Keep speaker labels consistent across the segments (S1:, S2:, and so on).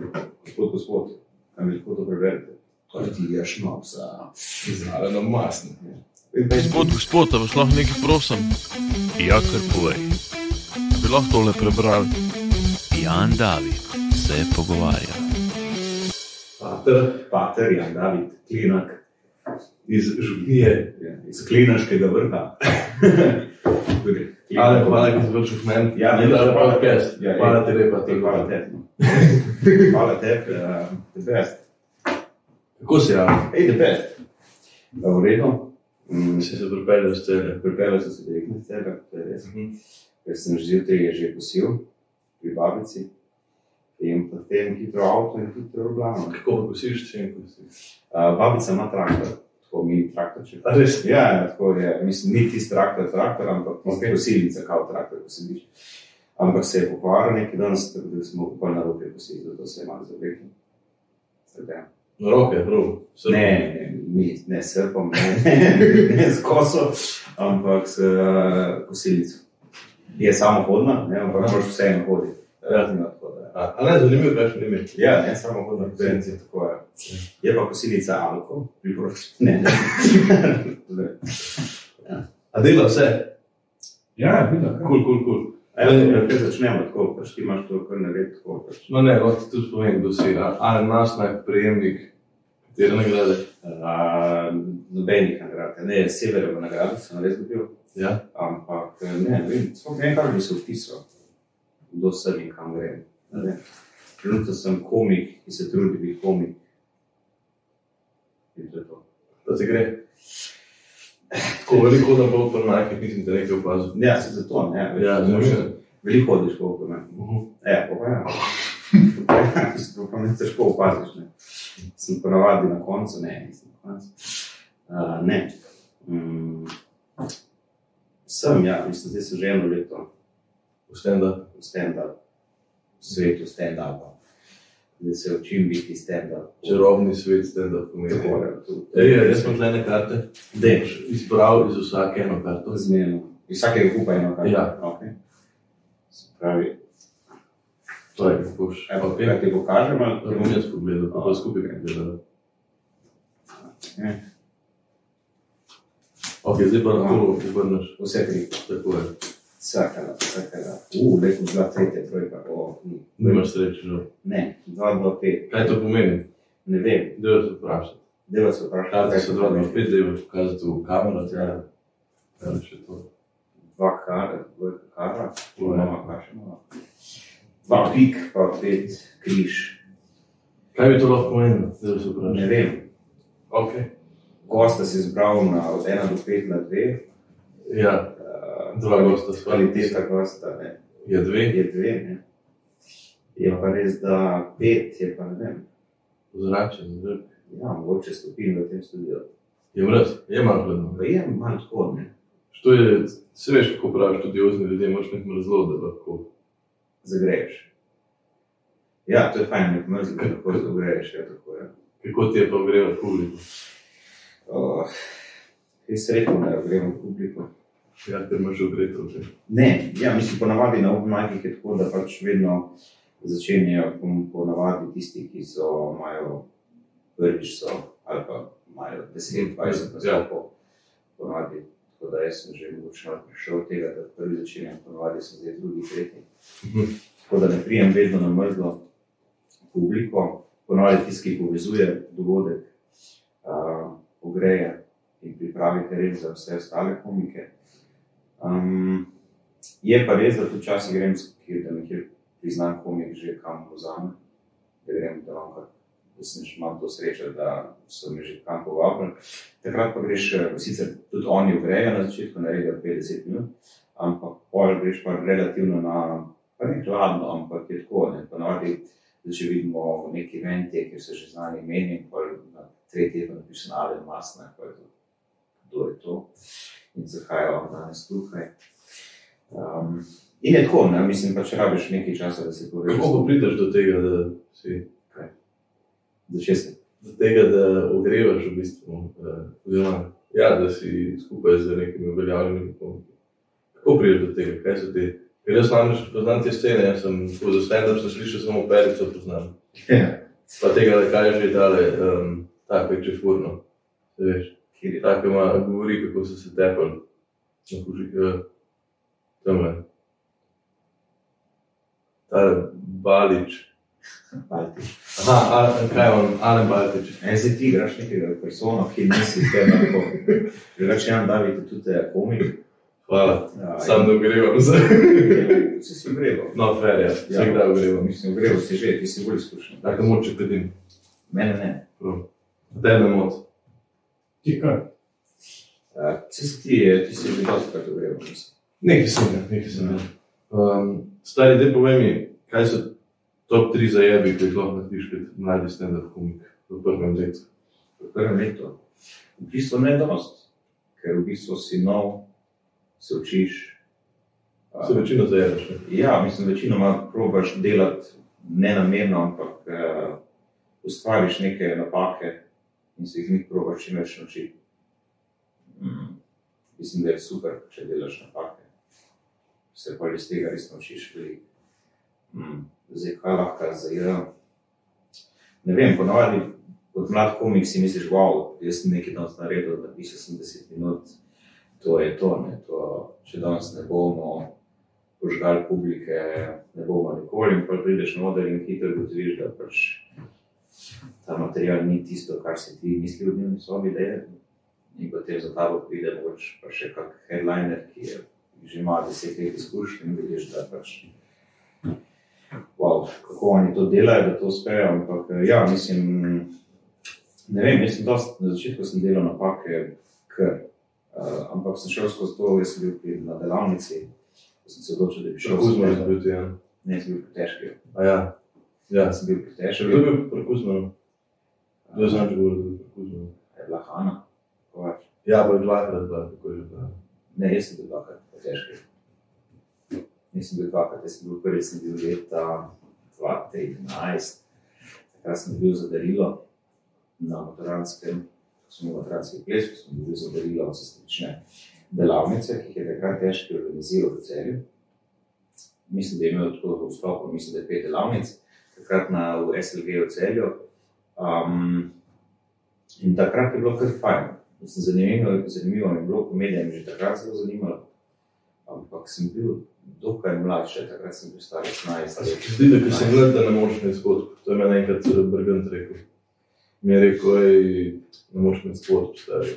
S1: Gospod, gospod, kaj mi lahko to preverite?
S2: Kaj ti je šnopsa?
S3: no,
S1: Zarano masno.
S4: Gospod, gospod, a vas lahko nekaj prosim?
S5: Ja, kar povej.
S4: Bi lahko tole prebrali?
S5: Jan David se pogovarja.
S6: Pater, pater Jan David Klinak iz Župnije, ja, iz Klinaškega vrha. Tudi
S3: Ali
S6: Klinak-
S3: pa nekaj zvrčil meni.
S6: Ja, ne,
S3: da,
S6: ne,
S3: hvala podcast.
S6: Ja,
S3: Hvala
S6: ja.
S3: ti lepa, ti hvala.
S6: Hvala tebi. Hvala tebi, eh, the best.
S3: Kako si, Jan?
S6: Ej, the best. Da, v redu. Mm,
S3: Si se pripeljal s tebe.
S6: Pripeljal sem se direktno iz tebe, to je res.
S3: Mhm.
S6: Ker sem že zjutraj že posil pri babici in potem hitro avto in hitro oblano.
S3: Kako pa kosiš, če ne kosiš?
S6: Babica ima traktor, tako mini traktorček.
S3: A res?
S6: Ja, ja, tako je. Mislim, ni tisti traktor, traktor, ampak okay.
S3: Okej.
S6: posilnica, kot traktor, ko sediš. Ampak se je pokvaril nekaj danes, tako da smo kupili na roke posilnice, zato se je malo zaveklo.
S3: Na roke, prav.
S6: Ne, ne, ni- ne s srpom, ne, ne s koso, ampak s uh, posilnico. Je samo hodna, ne, ampak moraš vseeno hoditi. Relativno tako. Da.
S3: A, a ne, zanimivo, kakšen ime.
S6: Ja, ne samo hodna posilnica, tako je. Je pa posilnica alko, priporočam. Ne, ne.
S3: A dela vse.
S1: Ja, vidim.
S3: Kul, kul, kul.
S6: Ja, ja, ker začnemo tako, pač ti imaš to kar ne ve, tako pač.
S3: No ne, lahko ti tudi povem, kdo si. A- Alen Masnak, prijemnik, kateri nagrade.
S6: A, Nobenih nagrad, ja, ne, severovo nagrado sem res dobil,
S3: Ja.
S6: ampak eh, ne vem, sploh ne vem, kako bi se opisal, kdo sem in kam grem. ne vem. Trenutno sem komik, ki se trudi biti komik. In to je to.
S3: Da ti gre. Tako veliko, da bo pri najkih nisem te nekaj opazil.
S6: Ja, se zato ne, več,
S3: Ja, zanimivo.
S6: veliko hodiš po okolju.
S3: Mhm.
S6: Ja, pa ja. To se pa ne težko opaziš. Ne. Sem ponavadi na koncu, ne, nisem na koncu. Uh, ne. Mm. Sem, ja, mislim, zdaj sem že eno leto
S3: V stand-up.
S6: v stand-up, v svetu stand-upa. Zdaj se učim biti stand-up.
S3: Čarobni svet stand-up
S6: Tako
S3: komedije.
S6: je, tu.
S3: Ej, ja, jaz sem tle ene karte
S6: Dej,
S3: izbral iz vsake eno karto.
S6: zmerno. Iz vsakega kupa je nekaj.
S3: Ja.
S6: Okay. Se pravi,
S3: To je, boš.
S6: evo,
S3: Ok.
S6: okay. kaj ti pokažem, ali
S3: To bom jaz pogledal, pa bo skupaj pogledal.
S6: Ja.
S3: Ok, zdaj pa lahko obrneš.
S6: vse tri.
S3: Tako je.
S6: Vsakega, vsakega. Uf, uh, lepo, dva, tretja, trojka. O, hm.
S3: Nimaš sreče, že.
S6: Ne, 2-2-5,
S3: Kaj to pomeni?
S6: ne vem,
S3: Delo se vprašati.
S6: deva se vprašati,
S3: Karte
S6: kaj
S3: so
S6: so
S3: 2-2-5, zdaj boš pokazal v kamero. Ja. Ja, še to.
S6: Dva kara, dva kara,
S3: To je.
S6: mama kašemo. Dva pik, pa pet križ.
S3: Kaj bi to lahko pomenilo? Delo se vprašati.
S6: Ne vem,
S3: Ok.
S6: gosta si izbral na od 1 do 5 na 2.
S3: Ja, dva gosta sva.
S6: Kvaliteta gosta ne.
S3: je dve,
S6: je 2, ne. Je pa res, da 5 je pa ne vem.
S3: zračen, zdaj.
S6: Ja, mogoče stopim v tem studiu.
S3: Je mraz, je malo hladno.
S6: Pa je malo tako, ne.
S3: Što je, se veš, kako praviš študiozni ljudje, imaš nek mrzlo, da lahko.
S6: Zagreješ. Ja, to je fajn, nek mrzlo, kako zagreješ, ja, tako je.
S3: Kako ti je pa greva publiko?
S6: Oh, jaz rekel, da gremo v publiko.
S3: Ja, ker imaš ogreto že.
S6: Ne, ja, mislim, ponavadi na obmajkih je tako, da pač vedno začenjajo pon- ponavadi tisti, ki so, imajo prvič so, ali pa imajo 10, 20
S3: Ja.
S6: nastopov. Ponavadi. Tako da jaz sem že mogoče malo prišel od tega, da prvi začenjam, ponavadi sem zdaj drugi, tretji.
S3: Mhm.
S6: Tako da ne prijem vedno na mrzlo publiko, ponavadi tisti, ki povezuje dogodek, uh, ogreje in pripravi teren za vse ostale komike. Um, je pa res, da tudi včasih grem, s- kjer- da nekje priznam, komik že kam vzame, da grem do onka. Jaz sem že imel to srečo, da so me že kam povabili. Takrat pa greš, eh, sicer tudi oni ogrejo na začetku, naredijo 50 minut, ampak pol greš pa relativno na, pa ne hladno, ampak je tako, ne ponovadi. Zdaj, Če vidimo neki eventi, kjer se že znani meni, in pol na tretji dan napišem, ali je masna, pa je to, kdo je to in zakaj je on danes tukaj. Um, in je tako, ne? mislim, pa če rabiš nekaj časa, da se povežeš.
S3: Kako pa prideš do tega, da, si,
S6: Začel sem.
S3: do tega, da ogrevaš v bistvu? eh, Oziroma, ja, da si skupaj z nekimi uveljavljenimi komiki. Kako prideš do tega, kaj so te Jaz namreč poznam te scene, jaz sem tako za stand-up sem slišal samo perico poznam.
S6: Ja.
S3: Pa tega, da kaj je že dale, um, tako je čefurno. Veš,
S6: Kjer je
S3: tako ima, govori, kako so se tepali. Na kuži, eh, tamle. Tale Balič.
S6: Baltič.
S3: Aha, Al- kaj je on, Ale Baltič.
S6: En se ti igraš nekega persona, ki misli, da je tako. Drugače, Jan David je tudi eh, komik.
S3: Hvala,
S6: Ja,
S3: sam
S6: in-
S3: ne ogrevam.
S6: Vsi si grevo.
S3: No, fer je,
S6: Ja.
S3: vsak dan ogrevam.
S6: Mislim, grevo si že, ti si bolj izkušen.
S3: Tako moče kadim.
S6: Mene ne.
S3: Daj me mot.
S1: Ti kaj?
S6: Eh, Vsi si ti, eh, ti si že dostakrat grevo.
S3: Nekaj sem, ja, nekaj sem. ja. Um, stari, dej povej mi, kaj so top 3 zajebi, ki jih lahko narediš kot mladi stand-up komik v prvem letu.
S6: v prvem letu. V bistvu ne dost, ker v bistvu si nov, se učiš.
S3: Se večino zajebeš, ne?
S6: Ja, mislim, večinoma probaš delati ne namerno, ampak uh, ustvariš neke napake in se iz njih probaš čim več naučiti. Mm. Mislim, da je super, če delaš napake. Se pa iz tega res naučiš veliko. Mm. Zdaj, kaj lahko zajedem? Ne vem, ponovadi kot mlad komik si misliš, wow, jaz sem nekaj danes naredil, napisal sem 10 minut, to je to, ne, to če danes ne bomo požgal publike, ne bomo nikoli. In pa prideš na oder in hitro ugotoviš, da pač ta material ni tisto, kar si ti mislil v dnevni sobi, da je. In potem za tabo pride mogoče pa še kak headliner, ki je že ima deset let izkušenj in vidiš, da pač. Wow, kako oni to delajo, da to uspejo, ampak eh, ja, mislim, Ne vem, jaz sem dost, na začetku sem delal napake, ker, uh, ampak sem šel skozi to, jaz sem bil pri, na delavnici, ko sem se odločil, da bi šel
S3: Kuzmo je
S6: skozi.
S3: bil ti, ja.
S6: Ne, sem bil pretežki.
S3: A ja, ja.
S6: Ja, sem bil
S3: Še kdo je
S6: pretežki.
S3: bil pri Kuzmo? Kdo znam, če govorim pri Kuzmo?
S6: Eh, Je bila Hanna. Kovač.
S3: Ja, bo je dvakrat, da, tako je bilo.
S6: Ne, jaz sem bil dvakrat pretežki. Nisem bil dvakrat, jaz sem bil prvi, sem bil leta 2013. Takrat sem bil za darilo na motoranskem, ko smo v motoranski ples, ko smo bili za darilo sestrične delavnice, ki jih je takrat težko organiziral v celju. Mislim, da je imel tako v sklopu, mislim, da je pet delavnic, takrat na v SLG v celju. Um, in takrat je bilo kar fajn. Mislim, zanimivo, zanimivo mi je bilo, komedija me je že takrat zelo zanimala. Ampak sem bil dokaj mlad, še takrat sem bil star
S3: A se
S6: 16 let.
S3: ti zdi, da ko sem gledal, da ne moreš imeti skodb? To je meni enkrat eh, Brgant rekel. Mi je rekel, ej, ne moreš imeti skodb, stari.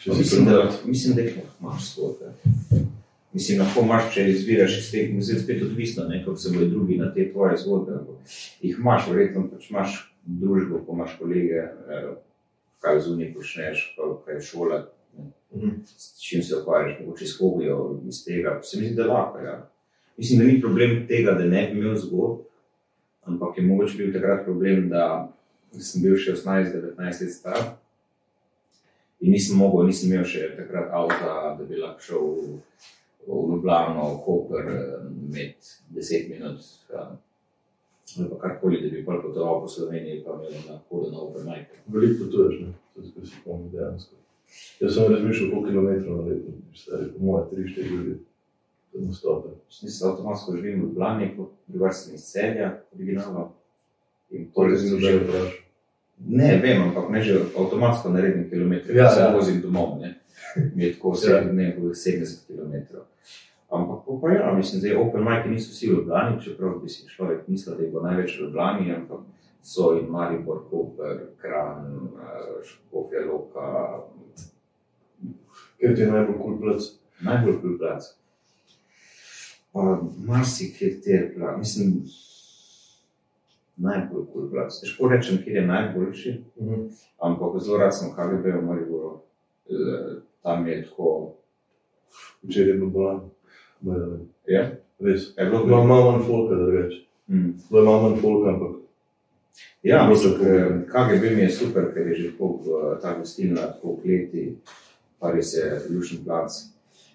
S3: Če si
S6: Mislim,
S3: premlad.
S6: da, mislim, da jih lahko imaš zgodbe. ja. Mislim, lahko imaš, če izbiraš iz teh, zdaj spet odvisno, ne, kako se bodo drugi na te tvoje zgodbe. ampak Jih imaš, verjetno pač imaš družbo, ko imaš kolege, eh, kaj zunaj počneš, pa kaj je šola, ne,
S3: Mhm.
S6: s čim se ukvarjaš, mogoče s hobijo, iz tega. Se mi zdi, da lahko. Ja. Mislim, da ni problem tega, da ne bi imel zgodb, ampak je mogoče bil takrat problem, da sem bil še 18-19 let star. In nisem mogel, nisem imel še takrat avta, da bi lahko šel v, v Ljubljano, v Koper, med 10 minut. eh, Ali pa karkoli, da bi pol potoval po Sloveniji, pa imel na hodu na Overnight.
S3: Veliko potuješ, ne? to je kar si pomeni dejansko. Jaz sem razmišljal, koliko kilometrov na leto, stari, po moje, 3-4 ljudi, da mu stope.
S6: Sem se avtomatsko živim v Ljubljani, drugače sem iz celja, originalno. In
S3: Torej,
S6: torej
S3: sem
S6: sem
S3: že
S6: že,
S3: vprašal.
S6: ne vem, ampak ne že avtomatsko naredim kilometre,
S3: Ja,
S6: ja, se
S3: ja.
S6: ja. vozim domov, ne. Mi je tako
S3: Ja.
S6: vsak dne v 70 km. Ampak pa, pa ja, mislim, da open majke niso vsi v Ljubljani, čeprav bi si človek mislil, da jih bo največ v Ljubljani, ampak so in Maribor, Koper, Kran, eh, Škofja Loka,
S3: Ker ti je najbolj kul plac.
S6: najbolj priplac. Pa marsikjer ter plac, mislim, najbolj kul plac. Težko rečem, kjer je najboljši,
S3: Mhm.
S6: ampak zelo rad sem v KGB v Mariboru. Eh, Tam je tako,
S3: Včeraj je bil bolan. By the way.
S6: Ja?
S3: Res.
S6: je bilo
S3: Imam malo manj folka, da več.
S6: Mm.
S3: Bilo je malo manj folka, ampak
S6: Ja,
S3: Mogoče
S6: mislim,
S3: pogledam.
S6: eh, KGB mi je super, ker je že tako eh, ta gostilna, tako v leti, pa res je lušen plac.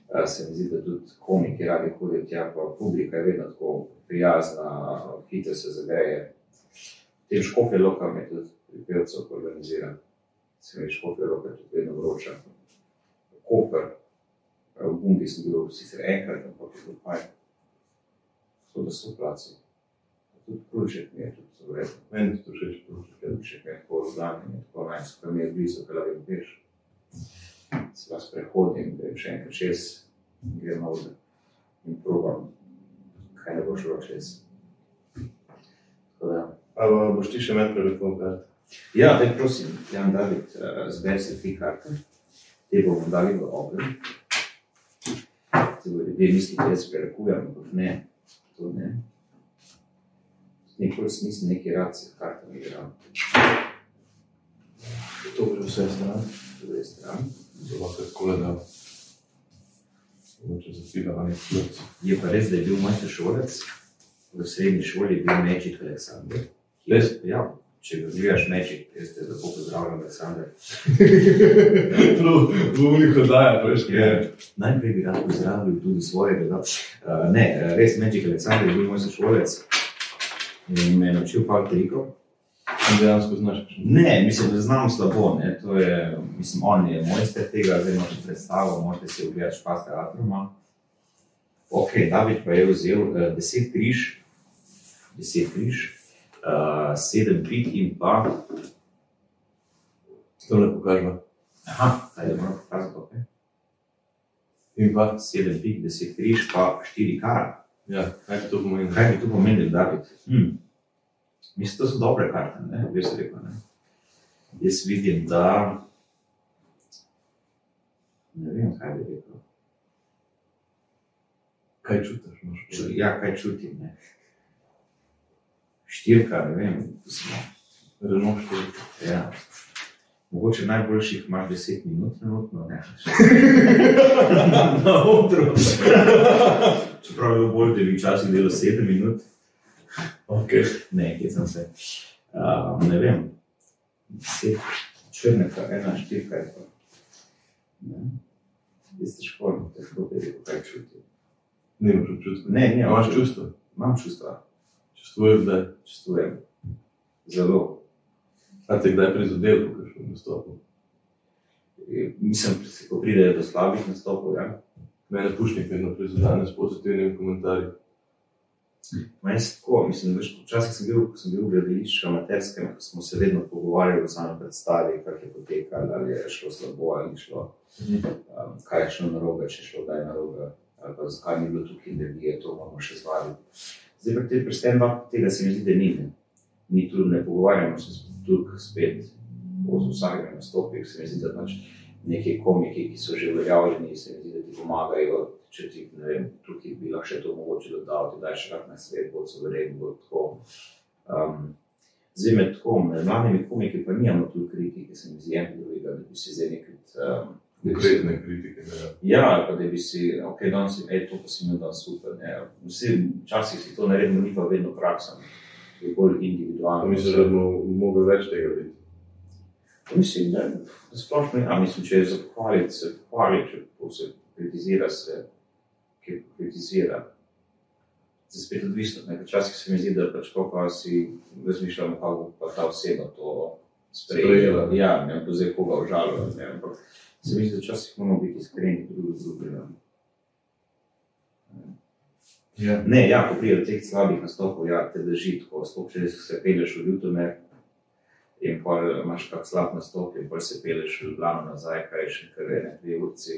S6: Eh, Se mi zdi, da tudi komiki radi hodijo tja, pa publika je vedno tako prijazna, hitro se zagreje. Tem škofje loka mi je tudi pri pevcu organiziran, se mi škofje loka je tudi vedno vroča. Koper, eh, v Bungi sem bil sicer enkrat, ampak je bilo fajn. Tako da so placi. Tudi kružek mi je tudi zelo vredno.
S3: Meni je to všeč. Prunček.
S6: Ker če kaj tako vzamem, je tako naj se mi je blizu, da lahko greš. Se vas prehodim, da je še enkrat čez, in grem na oder in probam, kaj ne bo šlo čez. Tako da,
S3: Ali boš ti še meni prelepo kar?
S6: Ja, daj, prosim, Jan David, eh, zberi se tri karte, te bomo dali v ogenj. Ti bodo ljudje mislili, da jaz prekujem, ampak ne, to ne. Nikoli si nisem neki rad s kartami igral,
S3: To gre vse stran.
S6: z druge strani.
S3: Zelo lahko tako le da. Mogoče zapira ali ključ.
S6: Je pa res, da je bil moj šolec, v srednji šoli je bil Mečik Aleksandr.
S3: Res?
S6: Ja, če ga gledaš Mečik, jaz te lepo pozdravljam, Aleksandr.
S3: Vumnih oddaja, veš, kaj je.
S6: Najprej bi rad pozdravil tudi svojega. Da, uh, ne, eh, res Mečik Aleksandr je bil moj sošolec in me je naučil par trikov.
S3: In dejansko znaš kakšen.
S6: Ne, mislim, da znam slabo. Ne. To je, mislim, on je mojster tega, zdaj imamo še predstavo, morate si ogledati špaste atroma. Ok, David pa je vzel eh, 10 križ, 10 križ, uh, 7 pik in pa.
S3: To le pokažva.
S6: Aha, kaj je moram pokazati, ok.
S3: In pa,
S6: 7 pik, 10 križ, pa 4 kara.
S3: ja, kaj to pomeni?
S6: Kaj bi to pomenilo, David? Hm. Mislim, da so dobre karte, ne bi se rekel. Ne? Jaz vidim, da. Ne vem, kaj bi rekel.
S3: Kaj čutiš? mož?
S6: Ču, ja, kaj čutim. Ne? Štirka, ne vem. Smo,
S3: Renault štiri.
S6: ja. Mogoče najboljših imaš 10 minut, trenutno ne. Na odru. Čeprav je bolj, da bi včasih delo 7 minut.
S3: Okay.
S6: Ne, kje sem se. Uh, ne vem, deset, črnka, ena štirka je to. Ne. Jaz težko, težko bi rekel, kaj čutim.
S3: Nimaš občutka.
S6: Ne, ne,
S3: Ja, imaš čustvo.
S6: Imam čustva,
S3: Čustvuješ, da je.
S6: čustvujem. Zelo.
S3: A te kdaj prizadel po kakšnem nastopu?
S6: E, Mislim, ko pridejo do slabih nastopov, ja.
S3: Mene pušnik vedno prizadene s pozitivnimi komentarji.
S6: Meni se tako, mislim, veš, včasih sem bil, ko sem bil v gledališču amaterskem, ko smo se vedno pogovarjali o sami predstavi, kako je potekalo, ali je šlo slabo ali ni šlo. um, kaj je šlo narobe, če je šlo kaj narobe, ali pa zakaj ni bilo tukaj energije, to bomo še zvali. Zdaj pa te prstena, tega se mi zdi, da ni. Ne. Mi tu ne pogovarjamo se tukaj spet o vsakem nastopu, se mi zdi, da pač neki komiki, ki so že uveljavljeni, se mi zdi, da ti pomagajo. Če ti ne vem, tukaj bi lahko še to mogoče dodal, ti daš še kak na svet, bolj soveren, bolj tako. Um, Zdaj med tako, med mladimi komiki pa nimamo tu kritike, se mi zdi, en drugega, da bi si zdaj nekaj um,
S3: Konkretne kritike. Ne.
S6: Ja, ali pa da bi si, ok, danes je ej, to, pa si mi danes super. Ne. Vsi včasih si to naredimo, ni pa vedno praksa. ne. Je bolj individualno.
S3: Mislim, da bomo mogli več tega videti.
S6: Mislim, da da splošno je. Ja, mislim, če je za pohvaliti, se pohvali, če pa se kritizira, se ki kritizira. Zdaj spet odvisno. Ne. Včasih se mi zdi, da pač ko pa si razmišljamo, kako pa ta oseba to sprejela.
S3: Sprejela.
S6: Ja, ne bo zdaj koga užalila. ne, Ampak se mi zdi, da včasih moramo biti iskreni drug z drugim.
S3: Ja.
S6: Ne, ja, ko pride do teh slabih nastopov, ja, te drži tako, sploh če se peleš v Ljutomer in pol imaš kak slab nastop in pol se peleš v Ljubljano nazaj, kaj je še kar ene dve urci.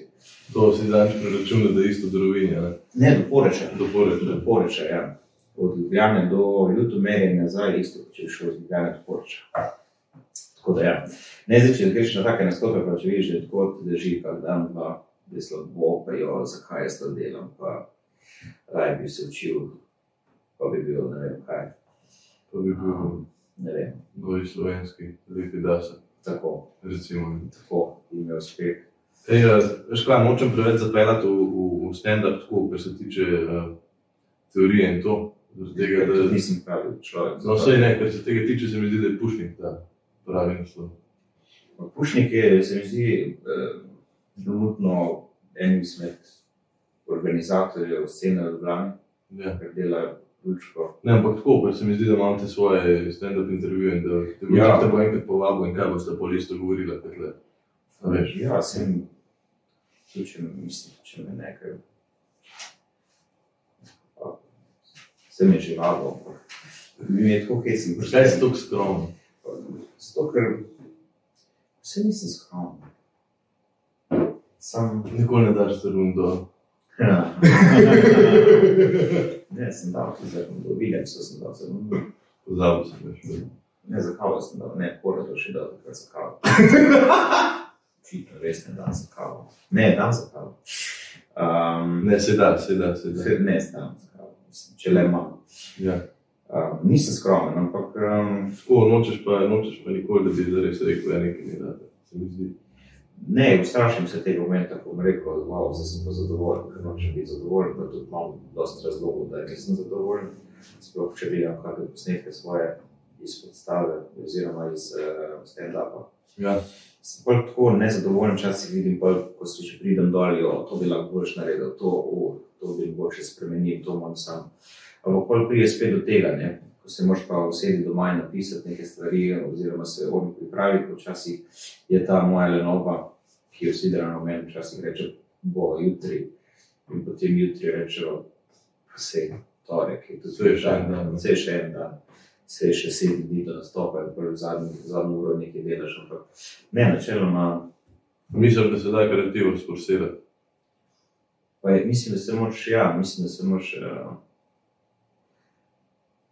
S3: To si danes preračunal, da je isto drovinja. ne.
S6: Ne, do Poreča.
S3: Do poreča.
S6: Do Poreča, ja. Od Ljubljane do Ljutomerja in nazaj, isto, če bi šel iz Ljubljane do Poreča. Tako da ja. Ne, zdaj, če greš na take nastope, pa če vidiš, da je tako te drži, kak dan, dva, da je slabo, pa jo, zakaj jaz to delam, pa raje bi se učil, pa bi bil, ne vem kaj.
S3: To bi bil
S6: Ne vem,
S3: novi slovenski, lepi dasa.
S6: tako,
S3: Recimo. ne.
S6: tako ime uspeh.
S3: Ej, eh, veš kaj, nočem preveč zapeljati v, v, v stand-up, tako, kar se tiče uh, teorije in to. Zaradi Tega, da,
S6: Tudi nisem pravi človek.
S3: no, vse ne, kar se tega tiče, se mi zdi, da je pušnik ta pravi naslov.
S6: Pušnik je, se mi zdi, eh, trenutno en izmed organizatorjev scene v Ljubljani,
S3: Ja.
S6: ker dela Lučko.
S3: Ne, ampak tako, ker se mi zdi, da imam te svoje stand-up intervjuje in da te bo,
S6: Ja.
S3: ja. te bo enkrat povabil in kaj boste po listu govorili. Veš,
S6: Ja, sem, tudi če mislim, če me nekaj. Se sem je že vadil. Mi je tako hecen.
S3: Zakaj si tako skromen?
S6: Zato, ker se nisem skromen. Sam
S3: Nikoli ne daš strun dol.
S6: Ja. ne, sem dal to zelo dolgo, vidim, so sem dal zelo dolgo.
S3: Pozabil sem več.
S6: Ne, za kavo sem dal, ne, pora to še dal, takrat za kavo. Očitno, res ne dam za kavo. Ne, dam za kavo. Um,
S3: Ne, se da, se da, se da.
S6: ne, ne, dam za kavo, mislim, če le imam.
S3: Ja.
S6: Um, nisem skromen, ampak um,
S3: Tako nočeš pa, nočeš pa nikoli, da bi zares rekel, da nekaj ne da. Se mi zdi.
S6: ne, ustrašim se tega momenta, ko bom rekel, wow, zdaj sem pa zadovoljen, ker nočem biti zadovoljen, pa tudi imam dosti razlogov, da nisem zadovoljen. Sploh, če vidim kakšne posnetke svoje iz predstave oziroma iz uh, stand-upa.
S3: Ja.
S6: Sem pa tako nezadovoljen, včasih vidim, pol, ko se že pridem dol, jo, to bi lahko boljš naredil, to, o, to bi lahko še spremenil, to moram sam. Ampak pol pride spet do tega, ne? ko se moraš pa usedi doma in napisati neke stvari, oziroma se on pripravi, včasih je ta moja lenoba, ki jo vsi drago meni, včasih reče, bo jutri. In potem jutri rečejo, vse je torek, je tudi
S3: Saj je
S6: že
S3: še en
S6: dan,
S3: dan.
S6: vse je še en dan. Se je še sedem dni do nastopa, in prvi zadnji, zadnji uro nekaj delaš, ampak ne, načeloma,
S3: Mislim, da se da kreativno sporsirati.
S6: pa je, mislim, da se moraš, ja, mislim, da se moraš uh,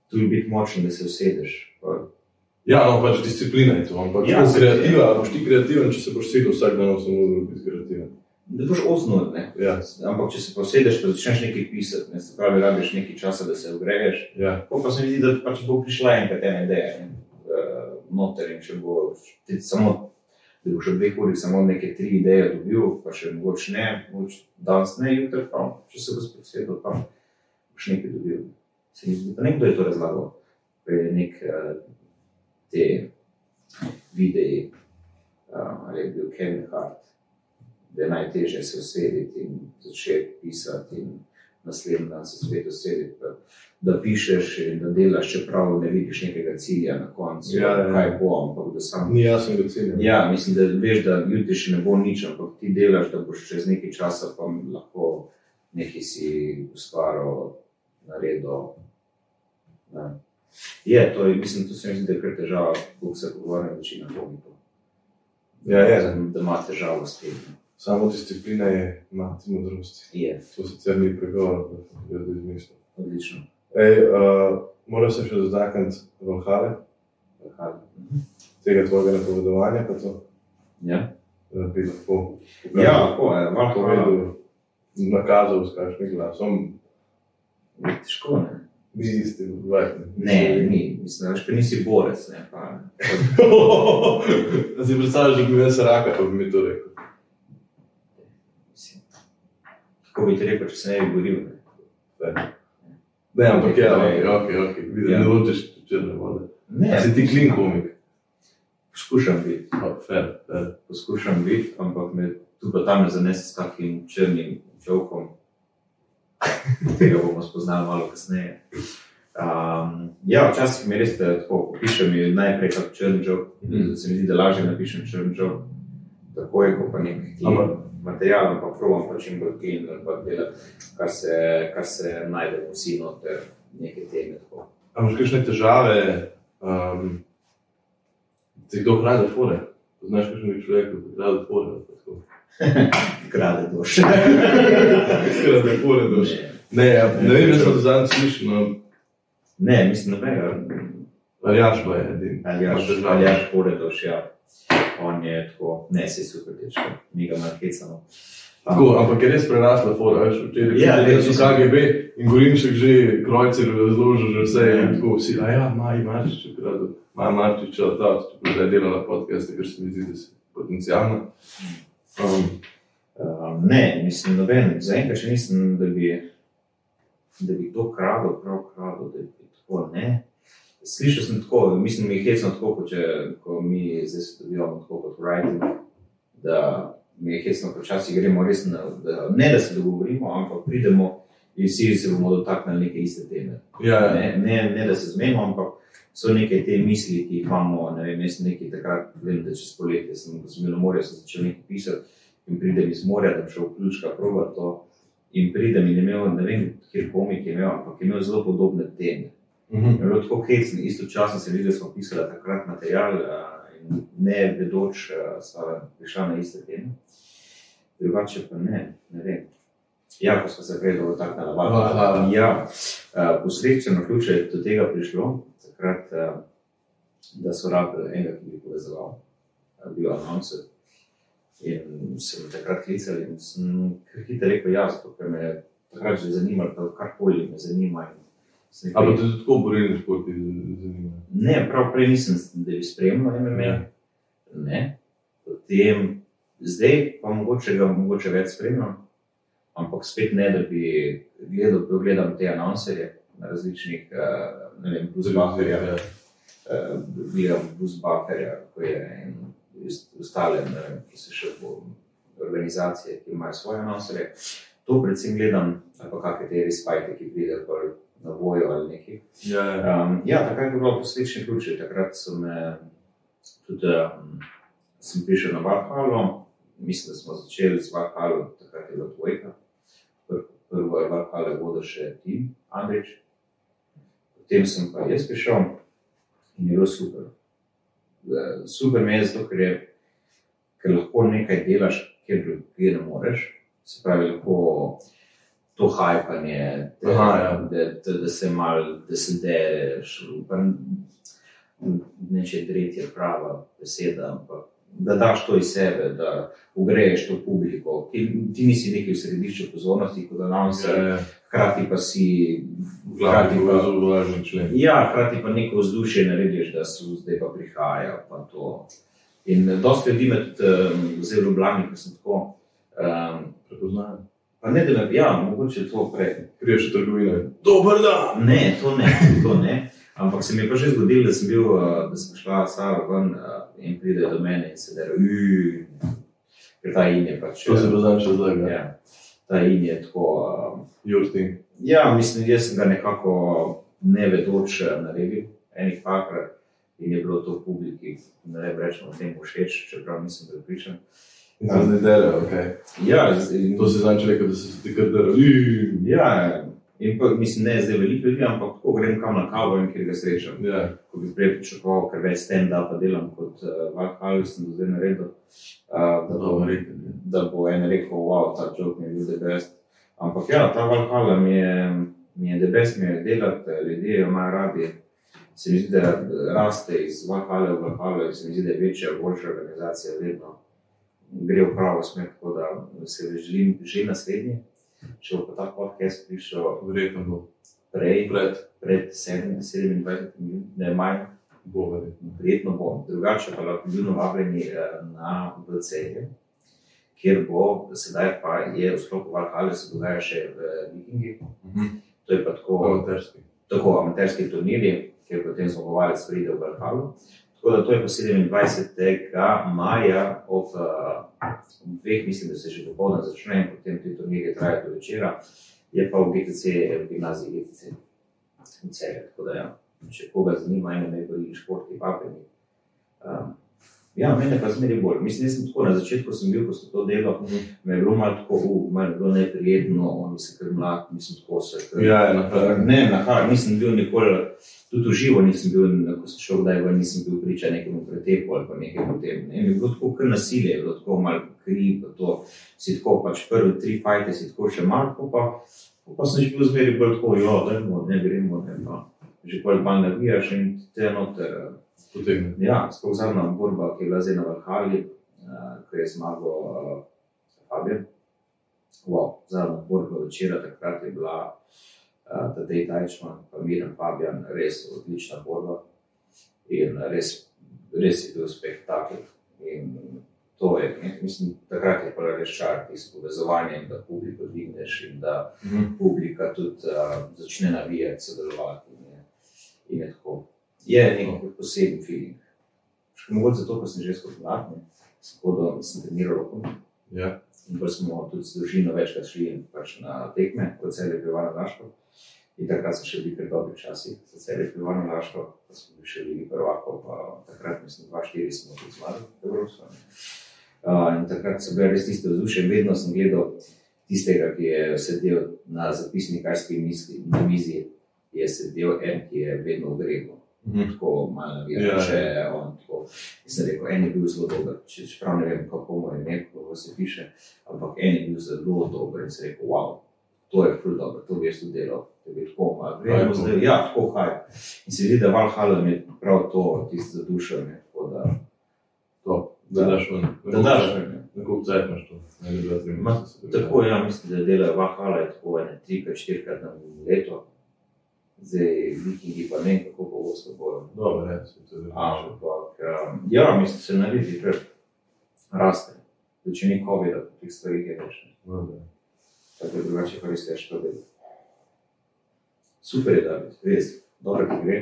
S6: tudi biti močen, da se usedeš. Pa,
S3: Ja, no, pač disciplina je to, ampak
S6: Ja,
S3: ja,
S6: se-
S3: kreativa, boš ti kreativen, če se boš sedel vsak dan 8 ur biti kreativen.
S6: da boš osnov, ne.
S3: Ja,
S6: Ampak če se posedeš, pa začneš nekaj pisati, ne, se pravi, rabiš nekaj časa, da se ogreješ,
S3: ja.
S6: Tako pa se mi zdi, da pač bo prišla enkrat ena ideja in, uh, noter in če bo ti samo, da boš v dveh urih samo neke tri ideje dobil, pa še mogoče ne, mogoče danes ne, jutri pa, če se bo spet svetlo, pa boš nekaj dobil. Se mi zdi, da nekdo je to razlagal, da je nek uh, te videi, uh, ali je bil Kevin Hart, da je najtežje se usediti in začeti pisati in naslednji dan se spet usediti. pa da pišeš in da delaš, čeprav ne vidiš nekega cilja na koncu,
S3: Ja, ja.
S6: kaj bo, ampak da sam.
S3: Ni jasno, da cilj.
S6: Ja, mislim, da veš, da jutri še ne bo nič, ampak ti delaš, da boš čez nekaj časa pa lahko nekaj si ustvaril, naredil. Ne. Je, to je, mislim, to se mi zdi, da je kar težava, koliko se pogovarja večina komikov.
S3: Ja, je.
S6: Da ima težavo s tem.
S3: Samo disciplina je mati modrosti.
S6: Je,
S3: To sicer ni pregovor, ampak jaz bi izmislil.
S6: odlično.
S3: Ej, uh, moram se še dotakniti Valhale,
S6: Aha.
S3: tega tvojega napovedovanja, pa to
S6: Mhm. Ja,
S3: eh, bi lahko
S6: ja tako je, malo povedal.
S3: povedal, nakazal s kakšnim glasom,
S6: Težko, ne?
S3: ni isti, vajni.
S6: Ne, ni, mislim, da nisi borec. Ne, pa,
S3: Da si predstavljaš, da bi imel raka, pa bi mi to rekel.
S6: mislim, tako bi ti rekel, če se ne bi boril. Ne.
S3: Ne, ampak ja, ok, ok, okay. vidim,
S6: Ja.
S3: ja. ne hočeš črne vode.
S6: Ne,
S3: Si ti klin komik, Oh,
S6: Poskušam biti,
S3: Pa, fer, fer.
S6: poskušam biti, ampak me tu pa tam zanese s kakim črnim čovkom. Tega bomo spoznali malo kasneje. Um, ja, včasih mi res eh, tako pišem, najprej kot črn čovk, mm. se mi zdi, da lažje napišem črn čovk. Tako je, ko pa nek
S3: Ampak-
S6: material, pa provam pa čim bolj klin, ampak dela, kar se, kar se najde vsi noter, neke teme. Tako.
S3: A imaš kakšne težave, um, ti kdo krade fore? Poznaš kakšnega človeka, ki krade fore? ali pa tako?
S6: Krade duše.
S3: Krade fore, da še. Ne, ja, ne vem, jaz sem to zadnjič slišal, no,
S6: Ne, mislim, nobenega.
S3: Aljaš pa je edin.
S6: Aljaš, Aljaš Poredoš, ja. On je tako, ne, si super dečko, mi ga malo eh, hecamo.
S3: Tako, ampak je res prerasla fora, veš, včeraj
S6: Ja,
S3: je
S6: res.
S3: bil KGB in Gorinšek že krojcer razložil že vse in tako vsi, a ja, Maji Marčič je kradel, Maji Marčič je odtal, čeprav je delala podcaste, ker se mi zdi, da si potencijalna. Um,
S6: Um, ne, mislim, noben, zaenkrat še nisem, da bi, da bi to kradel, prav kradel, da bi tako ne. Slišal sem tako, mislim, mi je hecno tako, kot če, ko mi zdaj se dobivamo tako kot writing, da mi je hecno počasi gremo res na, da, ne da se dogovorimo, ampak pridemo in vsi se bomo dotaknili neke iste teme.
S3: ja, ja.
S6: Ne, ne, ne da se zmemo, ampak so neke te misli, ki jih imamo. Ne vem, jaz sem nekaj takrat, vem, da čez poletje sem ko sem bil na morju, sem začel nekaj pisati in pridem iz morja, da bi šel vključka proba to. In pridem in je imel, ne vem, kje komik je imel, ampak je imel zelo podobne teme.
S3: Mhm.
S6: Je bilo tako hecno, istočasno se vidi, da smo pisali takrat material a, in ne vedoč, eh, sva prišla na iste teme. Drugače pa ne, ne vem. Ja, ko smo se prej dotaknili
S3: Aha.
S6: navadno. Ja, a, posrečeno ključe je do tega prišlo, takrat, a, da so rabili enega, ki bi povezoval, a, bil announcer. In sem takrat klical in sem kar hitro rekel, ja, zato ker me je takrat že zanimalo, da karkoli me zanima. in sem rekel,
S3: Ampak te tudi tako borilni športi z- zanimajo.
S6: Ne, prav prej nisem, s- da bi spremljal MMA. Ne. Potem, zdaj pa mogoče ga mogoče več spremljam, ampak spet ne, da bi gledal, pogledam te anonserje na različnih, eh, ne vem, buzbaferja,
S3: Ja.
S6: gledam buzbaferja, ko je en iz- ostale, ne vem, ki se še bo organizacije, ki imajo svoje anonserje. To predvsem gledam, ali pa kakšne te res fajte, ki pridejo pol na vojo ali nekaj.
S3: Ja, ja.
S6: Um, ja, takrat je bilo posrečni ključ, takrat sem eh, tudi um, sem prišel na Valhalo, mislim, da smo začeli z Valhalo, takrat je bila dvojka. Pr- Prvo je Valhalo vodil še Tim Andrič, potem sem pa jaz prišel in je bilo super. Eh, Super mi je zato, ker, je, ker lahko nekaj delaš, kjer drugje ne moreš. Se pravi, lahko to hajpanje, da,
S3: Aha, ja.
S6: da, da, da se malo, da se dereš, neče dretje prava beseda, ampak da daš to iz sebe, da ugreješ to publiko. Ti, ti nisi neki v središču pozornosti, kot da nam
S3: Ja,
S6: se,
S3: ja.
S6: hkrati pa si,
S3: V glavi
S6: hkrati
S3: je
S6: pa
S3: zelo važen člen.
S6: Ja, hkrati pa neko vzdušje narediš, da so zdaj pa prihaja. Pa to. in eh, dosti ljudi med um, zelo ljubljeni, ki sem tako. Um,
S3: Prepoznajem.
S6: pa ne, da me ja, mogoče to prej.
S3: Priješ v trgovino. Dober dan!
S6: Ne, to ne, to ne. Ampak se mi je pa že zgodilo, da sem, bil, uh, da sem šla sama ven uh, in pride do mene in se da rojuje. Ker ta in je pač.
S3: To se poznam še zdaj. Ja.
S6: ja, ta in je tako. Um,
S3: Your thing.
S6: Ja, mislim, jaz sem ga nekako nevedoč eh, naredil, enih parkrat in je bilo to publiki, ne vem, rečemo, tem všeč, čeprav nisem pripričan.
S3: In se zdaj dere, ok.
S6: Ja, z- in,
S3: To si zdaj rekel, da si se ti kar dere.
S6: ja, in pa, mislim, ne zdaj veliko ljudi, ampak tako grem kam na kavo in kjer ga srečam.
S3: Ja.
S6: ko bi prej pričakoval, ker več stand-upa delam kot uh, Valhalla, sem do zdaj naredil. Uh, da, bo,
S3: Dobro, rekel, ja.
S6: da bo en rekel, wow, ta job mi je bil the best. Ampak ja, ta Valhalla mi je, mi je the best, mi je delati, ljudje jo imajo radi. Se mi zdi, da raste iz Valhalla v Valhalla in se mi zdi, da je večja, boljša organizacija vedno gre v pravo smer, tako da se želim že naslednji. Če bo pa ta podcast prišel
S3: Verjetno bo.
S6: prej,
S3: Pred
S6: pred 7, 27 minut, ne manj,
S3: bo verjetno.
S6: Verjetno bo, drugače pa lahko bili vabljeni eh, na VCR, kjer bo, sedaj pa je v sklopu Valhalla se dogaja še v Vikingi.
S3: Mhm.
S6: To je pa tako,
S3: Amaterski.
S6: tako amaterski turnirji, kjer potem zmagovalec pride v Valhalla. Tako da to je pa 27. maja ob eh, ob dveh, mislim, da se že popoldan začne in potem ti turnirji trajajo do večera, je pa v GTC, v gimnaziji GTC. v Celju, Tako da ja če koga zanima, eno ne boli športi, vabljeni. Um, ja, mene pa zmeraj bolj. Mislim, da sem tako na začetku, ko sem bil, ko sem to delal, me je bilo malo tako, uh, malo je bilo neprijetno, on se kar mlad, mislim, tako se. Kar,
S3: Ja, je napravljen.
S6: Ne, na kar nisem bil nikoli, tudi v živo nisem bil, ko sem šel kdaj ven, nisem bil priča nekemu pretepu ali pa nekaj potem. Ne, je bilo tako kar nasilje, je bilo tako malo kri, pa to si tako pač prve tri fajte si tako še malo, pol pa, pol pa sem že bil zmeri bolj tako, jo, dajmo, ne gremo, ne pa. Že pol manj navijaš in te noter. eh,
S3: Potegne.
S6: Ja, sploh zadnja borba, ki je bila zdaj na Valhali, uh, ko je zmagal uh, Fabijan. Wow, zadnja borba večera takrat je bila uh, Tadej Tajčman, pa Miren Fabijan, res odlična borba in res, res je bil spektakel. In to je, ne, mislim, takrat je prvi res čar iz povezovanja in da publiko dvigneš in da
S3: Mhm.
S6: publika tudi uh, začne navijati, sodelovati. Ne? In je tako. Je nek poseben film. Mogoče zato, ker sem že skočil, skodo sem treniral roko.
S3: Ja.
S6: In pa smo tudi z družino večkrat šli pač na tekme, kot se je repeljal na Laško. In takrat so še bili pred dobri časi, kot se je repeljal na Laško, pa smo bili še bili prvako, pa takrat mislim, 2-4 smo tudi zmagali Evropsko. ne. Uh, in takrat so bile res tiste vzdušje, vedno sem gledal tistega, ki je sedel na zapisnikarski misli, na mizi, je sedel en, ki je vedno ogrevil.
S3: Mhm.
S6: Tako malo
S3: Ja,
S6: navijajo, če je on tako. Jaz sem rekel, en je bil zelo dober, če, čeprav ne vem, kako mu je ime, kako se piše, ampak en je bil zelo dober in sem rekel, wow, to je ful dobro, to veš tudi delo, da bi tako malo
S3: Kaj
S6: gremo
S3: je to?
S6: zdaj, ja, tako kaj. In se vidi, da Valhalla mi je prav to, tisto zadušenje, tako da,
S3: To, da daš ven.
S6: da daš. ne.
S3: Na kup cajt imaš to. Ne bi bila tri
S6: Ma,
S3: mesece.
S6: Tako je, ja, mislim, da delajo Vahala, je tako ene trikrat, štirikrat na leto, zdaj vikingi pa ne vem, kako pogosto bojo.
S3: Dobro, ne, se to je dobro.
S6: Ampak, um, ja, mislim, se naredi, ker raste. Zdaj, če ni COVID-a, teh stvari je več. ne.
S3: Dobro.
S6: Tako da drugače pa res težko delo. Super je, da je res, dobro ti gre.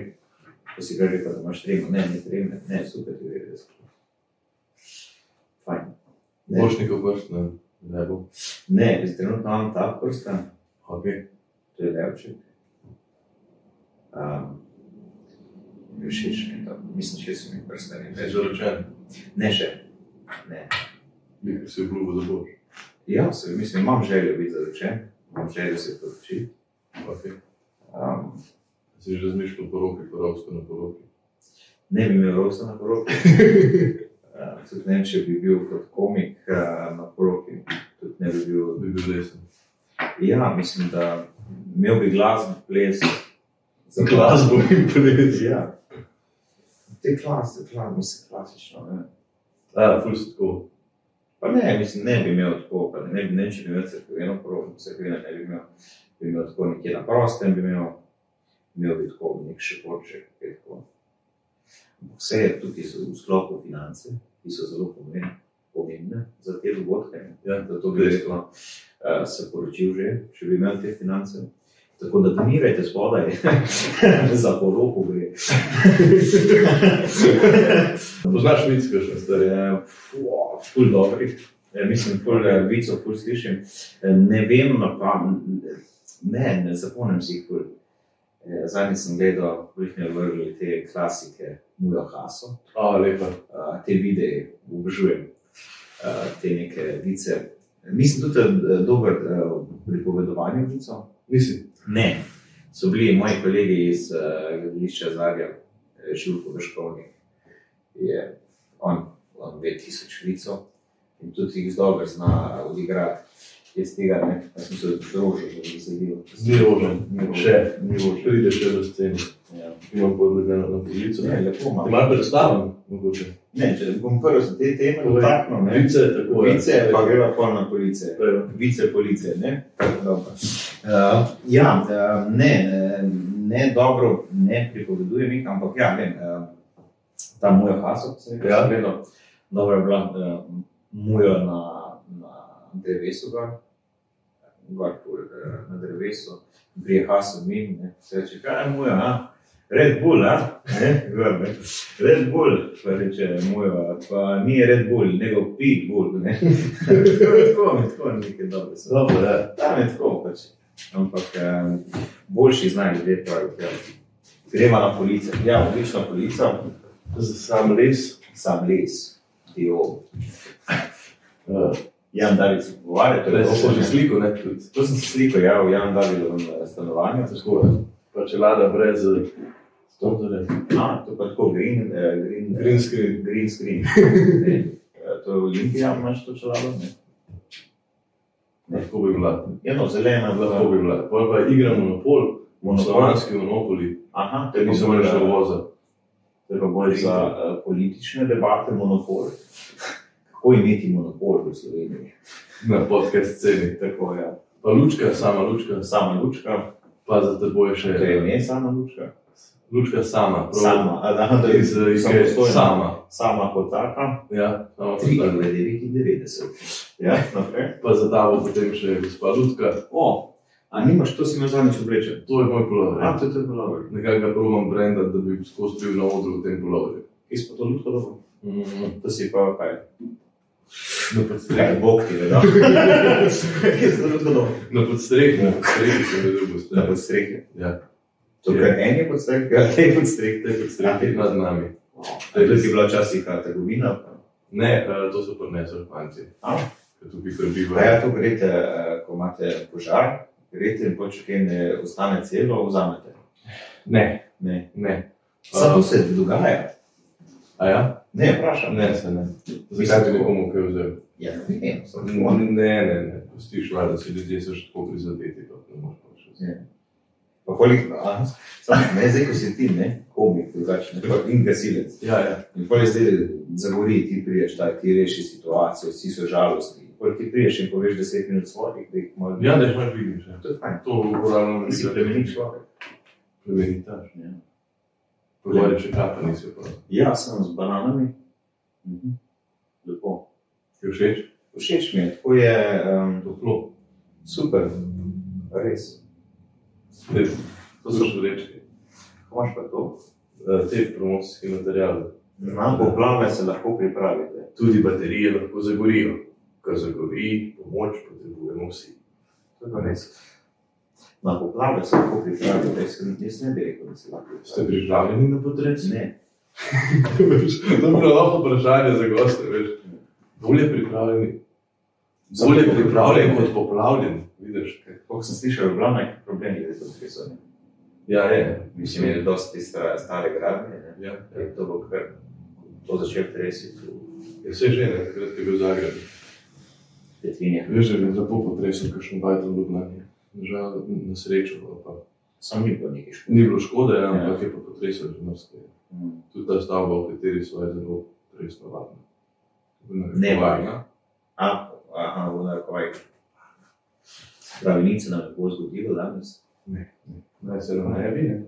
S6: Ko si prej rekel, da imaš tremo, ne, ne tremo, ne, super ti gre res. Fajn. Ne.
S3: Bošnikov prst, ne, ne bo.
S6: Ne, jaz trenutno imam ta prsta.
S3: Ok.
S6: to je levček. Um, mi je všeč mi je to, mislim, če se mi prsta ne
S3: Si
S6: več.
S3: zaročen.
S6: Ne še. Ne.
S3: Nekaj si obljubo, da boš.
S6: Ja, se, mislim, imam željo biti zaročen, imam željo se poročiti.
S3: Ok.
S6: Um,
S3: Si že razmišljal po roki, po rovsko na poroki.
S6: ne bi imel rosa na poroki. Uh, tudi ne vem, če bi bil kot komik uh, na poroki. Tudi ne bi bil
S3: Bi bil lesen.
S6: Ja, mislim, da imel bi glasbo, ples. Za
S3: in ples.
S6: Ja. Te klase, klase, mislim, klasično. Ne.
S3: Ja, ful si tako.
S6: Pa ne, mislim, ne bi imel tako, pa ne bi ne, če bi imel crkveno poročje, crkveno ne bi imel, bi imel tako nekje na prostem, bi imel, imel bi tako nek še porček, kaj tako. Ampak Vse je tudi iz- v sklopu finance, ki so zelo pomembne, pomembne za te dogodke. ne.
S3: Ja,
S6: Zato bi res uh, se poročil že, če bi imel te finance. Tako da donirajte spodaj, za poroko gre.
S3: Poznaš Vicka še, stari.
S6: Eh, fuh, Ful dobrih, Eh, mislim, ful eh, vicov, ful slišim. Eh, Ne vem, na pa ne, ne zapomnim si jih ful. Eh, Zadnjič sem gledal, vrhne vrgli te klasike, Mula Haso,
S3: A, lepa.
S6: Eh, te videe, obožujem Eh, te neke vice. Nisem tudi eh, dober eh, v pripovedovanju vicov,
S3: Nisi.
S6: Ne, so bili moji kolegi iz eh, gledališča Zagreb, eh, Žilko Vrškovnik, je on, on ve tisoč vicov in tudi jih dobro zna odigrati. Jaz tega ne, jaz sem se družil, da bi zadel.
S3: Ni rožen. Še.
S6: Ni rožen.
S3: Pride še do scene.
S6: Ja.
S3: Imam podlegano na polico.
S6: Ne, lepo imam.
S3: Imam predstaven, mogoče.
S6: Ne, če bom prvi za te teme
S3: Povej.
S6: dotaknil, ne.
S3: Vice, tako ja. je.
S6: Vice, pa greva pol na police.
S3: Evo.
S6: vice policije. Ne? Uh, ja, uh, ne, eh, ne dobro, ne pripovedujem jih, ampak ja, vem, uh, ta moja haso, ki sem
S3: Ja.
S6: jo gledal, dobro je bila uh, muja na, na drevesu, gor, gor pol, eh, na drevesu, prije haso min, ne, se reče, kaj je muja, a? Red Bull, a? Ne, gor, ne. Red Bull, pa reče muja, pa ni Red Bull, nego Pit Bull, ne. tako, tako, nekaj dobro se.
S3: Dobro, ja.
S6: Tam je tako pač. Ampak um, boljši znajo ljudje praviti. Ja. Greva na police. Ja, odlična polica,
S3: Za sam les.
S6: sam les, dio.
S3: Uh,
S6: Jan David se pogovarja, to je
S3: Torej,
S6: bilo
S3: zdaj sem že
S6: že
S3: sliko, ne, tudi.
S6: To sem si slikal, ja, v Jan Davidovem stanovanju.
S3: Tako je. Pa čelada brez eh, sponzorja.
S6: A, to pa tako green, eh, green,
S3: Green screen.
S6: green screen. Ne, eh, to je Olimpija, imaš to čelado? Ne.
S3: Lahko bi bila.
S6: Ja, no, zelena je bila.
S3: Lahko bi bila. Pol pa igra monopol. Slovanski monopoli.
S6: Aha, to je
S3: Niso
S6: bilo
S3: imeli Ja, še uvoza.
S6: To je pa bolj za eh, politične debate monopol. Kako imeti monopol v Sloveniji?
S3: Na podcast sceni.
S6: Tako je. Ja.
S3: Pa lučka, sama lučka.
S6: Sama lučka,
S3: Pa za teboj še.
S6: to je ne sama lučka.
S3: Lučka sama. prav.
S6: Sama, a da, da je
S3: Iz, eh, iz
S6: samostojna.
S3: sama.
S6: Sama kot taka.
S3: Ja, sama
S6: Tri
S3: postavlja.
S6: v 99. Ja, naprej.
S3: Pa za tavo potem še gospa Lutka.
S6: O, a nimaš, to si me zadnjič oblečen.
S3: To je moj pulover.
S6: A, to je to bilo dobro.
S3: Nekako ga provam brendati, da bi skozi bil na odru v tem puloverju.
S6: Kje si pa to lutko dobro?
S3: Mm,
S6: To si pa kaj?
S3: Na
S6: Kaj,
S3: podstrehi.
S6: bog ti je, da. Kje si to lutko dobro?
S3: Na podstrehi, na podstrehi sem videl
S6: Na
S3: goste.
S6: podstrehi.
S3: Ja.
S6: To,
S3: Je.
S6: kar en je podstreh, kar te je podstreh, te je
S3: Strehi
S6: podstreh.
S3: nad nami.
S6: To je bila včasih ta trgovina. pa-
S3: Ne, eh, to so prinesli fanti.
S6: A?
S3: ker tukaj krebi
S6: Da, ja, to greste, eh, ko imate požar, greste in počakaj, ne ostane celo, vzamete.
S3: Ne,
S6: Ne.
S3: ne.
S6: Samo se dogaja.
S3: A ja?
S6: Ne, vprašam.
S3: Ne, se ne. Zakaj bi nekomu kaj vzel?
S6: Ja, ne vem, samo tako.
S3: Ne, ne, ne. Pustiš, valjda, da si ljudje so še tako prizadeti, kot ne moreš pač.
S6: Pa koliko, aha, samo ne, zdaj ko si ti, ne, komik, drugačen, in gasilec.
S3: Ja, ja.
S6: In pol je zdaj zagori, ti priješ, ta, ti reši situacijo, vsi so žalostni. Pol ti priješ in poveš deset minut svojih, da jih malo
S3: Ja, da jih malo vidiš. ja.
S6: To je fajn.
S3: To uporabljamo
S6: Ti si plemeni človek.
S3: Plemenitaš.
S6: Ja.
S3: Pogori, če kapa nisi pa.
S6: Ja, sem z bananami. Mhm. Lepo.
S3: Ti všeč?
S6: Všeč mi je, tako je um,
S3: Toplo.
S6: super, res.
S3: Res. To so šporečke.
S6: Ko Imaš pa to?
S3: Te promocijske materiale.
S6: Na poplave se lahko pripravite.
S3: Tudi baterije lahko zagorijo. Ker zagori, pomoč potrebujemo vsi.
S6: To je pa res. Na poplave se lahko pripravite, jaz, jaz ne bi rekel, da se lahko
S3: Ste
S6: pripravite.
S3: pripravljeni na potres?
S6: Ne,
S3: Veš, to je bilo lahko vprašanje za goste. Veš. Bolje pripravljeni. Bolje pripravljen kot poplavljen. Vidiš, kaj.
S6: kot sem slišal, je bilo nekaj problemov, da so prisotni.
S3: Ja, je.
S6: Mislim, da je dosti stare, stare gradnje. ne.
S3: Ja, ja.
S6: E, To bo kar, to začel tresiti v
S3: Je vse že, ne, takrat ko je bil Zagreb.
S6: petvinjah.
S3: Veš, da je lepo potresel, kakšen bajten Ljubljani. Žal, na srečo, ali pa
S6: Sam ni bilo nekaj škode.
S3: ni bilo škode, ja,
S6: Ja.
S3: ampak je pa potresel že mrske.
S6: Mm.
S3: Tudi ta stavba, v kateri so, je zelo resno varna.
S6: Nevarna. A, aha, v narekovajih. Pravi, nič se nam ne bo zgodilo danes.
S3: Naj se nam ne bi. ne.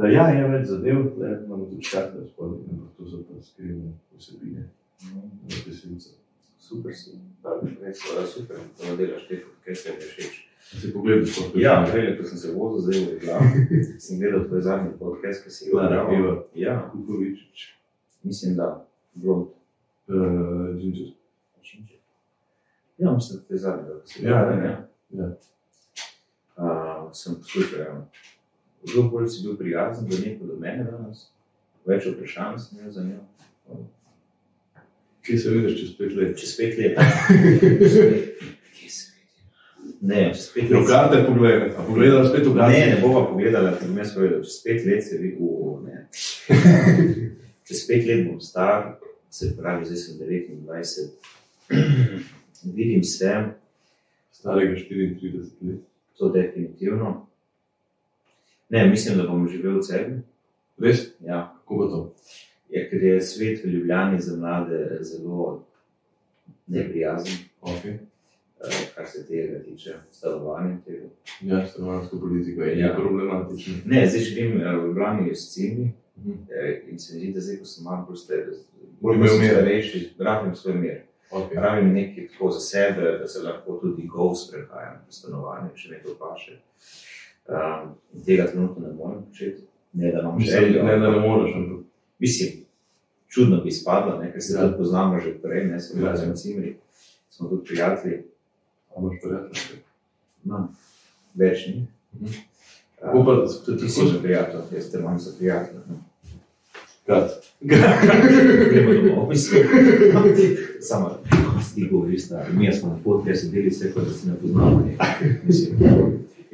S3: E, Ja, je več zadev, tle imamo tudi čakati spodaj, ampak to so pa skrivne vsebine, resnice.
S6: Mm. Super si, da bi res, eh, super, da delaš te, kaj se mi všeč.
S3: Si pogledaj, kako
S6: Ja, prej, ko sem se vozil, zdaj v glavu, sem gledal tvoj zadnji podcast, ki si ga naredil.
S3: Naravno.
S6: Ja,
S3: Kukovičič,
S6: mislim, da. Blond.
S3: eh, Džinčer.
S6: Ja, mislim, da te zadnje, da si
S3: Ja, ja, ja.
S6: Uh, sem poslušal, ja. zelo bolj si bil prijazen do nje, kot do mene danes. Več vprašanj sem imel za njo.
S3: Kje se vidiš čez pet let?
S6: Čez pet let. Čez pet- Kje se Ja. vidi? Ne, čez pet let. se-
S3: Rokate pogledaj, a pogledala spet v
S6: Ne,
S3: gane.
S6: ne bova pogledala, ker bom jaz povedal, čez pet let se vidi, o, ne. Čez pet let bom star, se pravi, zdaj sem 29. Vidim se,
S3: Starega 34 let.
S6: to definitivno. Ne, mislim, da bom živel v celju.
S3: Res?
S6: Ja,
S3: Kako bo to?
S6: Ja, ker je svet v Ljubljani za mlade zelo neprijazen,
S3: Okay.
S6: eh, kar se tega tiče, stanovanja. Tega.
S3: Ja, stanovanska politika je ja.
S6: Ja.
S3: problematična.
S6: Ne, zdaj živim eh, v Ljubljani s cimi
S3: Mhm.
S6: in se mi zdi, da zdaj, ko sem malo bolj star-
S3: Bolj
S6: bolj ko sem
S3: imel mir.
S6: starejši, rabim svoj mir.
S3: Okay.
S6: Rabim nekaj tako za sebe, da se lahko tudi gov sprehajam po stanovanju, če me to paše. Um, in tega trenutno ne morem početi, ne da imam
S3: Mislim,
S6: željo.
S3: ne, da ne moreš, ampak
S6: Mislim, čudno bi spadlo, ne, ker se
S3: Ja.
S6: ja. poznamo že prej, ne smo
S3: Ja.
S6: bili na Cimri, smo tudi prijatelji,
S3: a imaš prijatelje.
S6: imam več ni.
S3: Mhm.
S6: A,
S3: Upam, da se
S6: Ti
S3: ti
S6: si
S3: tako
S6: že prijatelj, jaz te imam za prijatelja. no. ne.
S3: skratka.
S6: Gremo domov, mislim. No, Samo, kaj ti govoriš, da mi smo na poti, jaz sem delil vse, kot da se ne poznamo. ne. Mislim,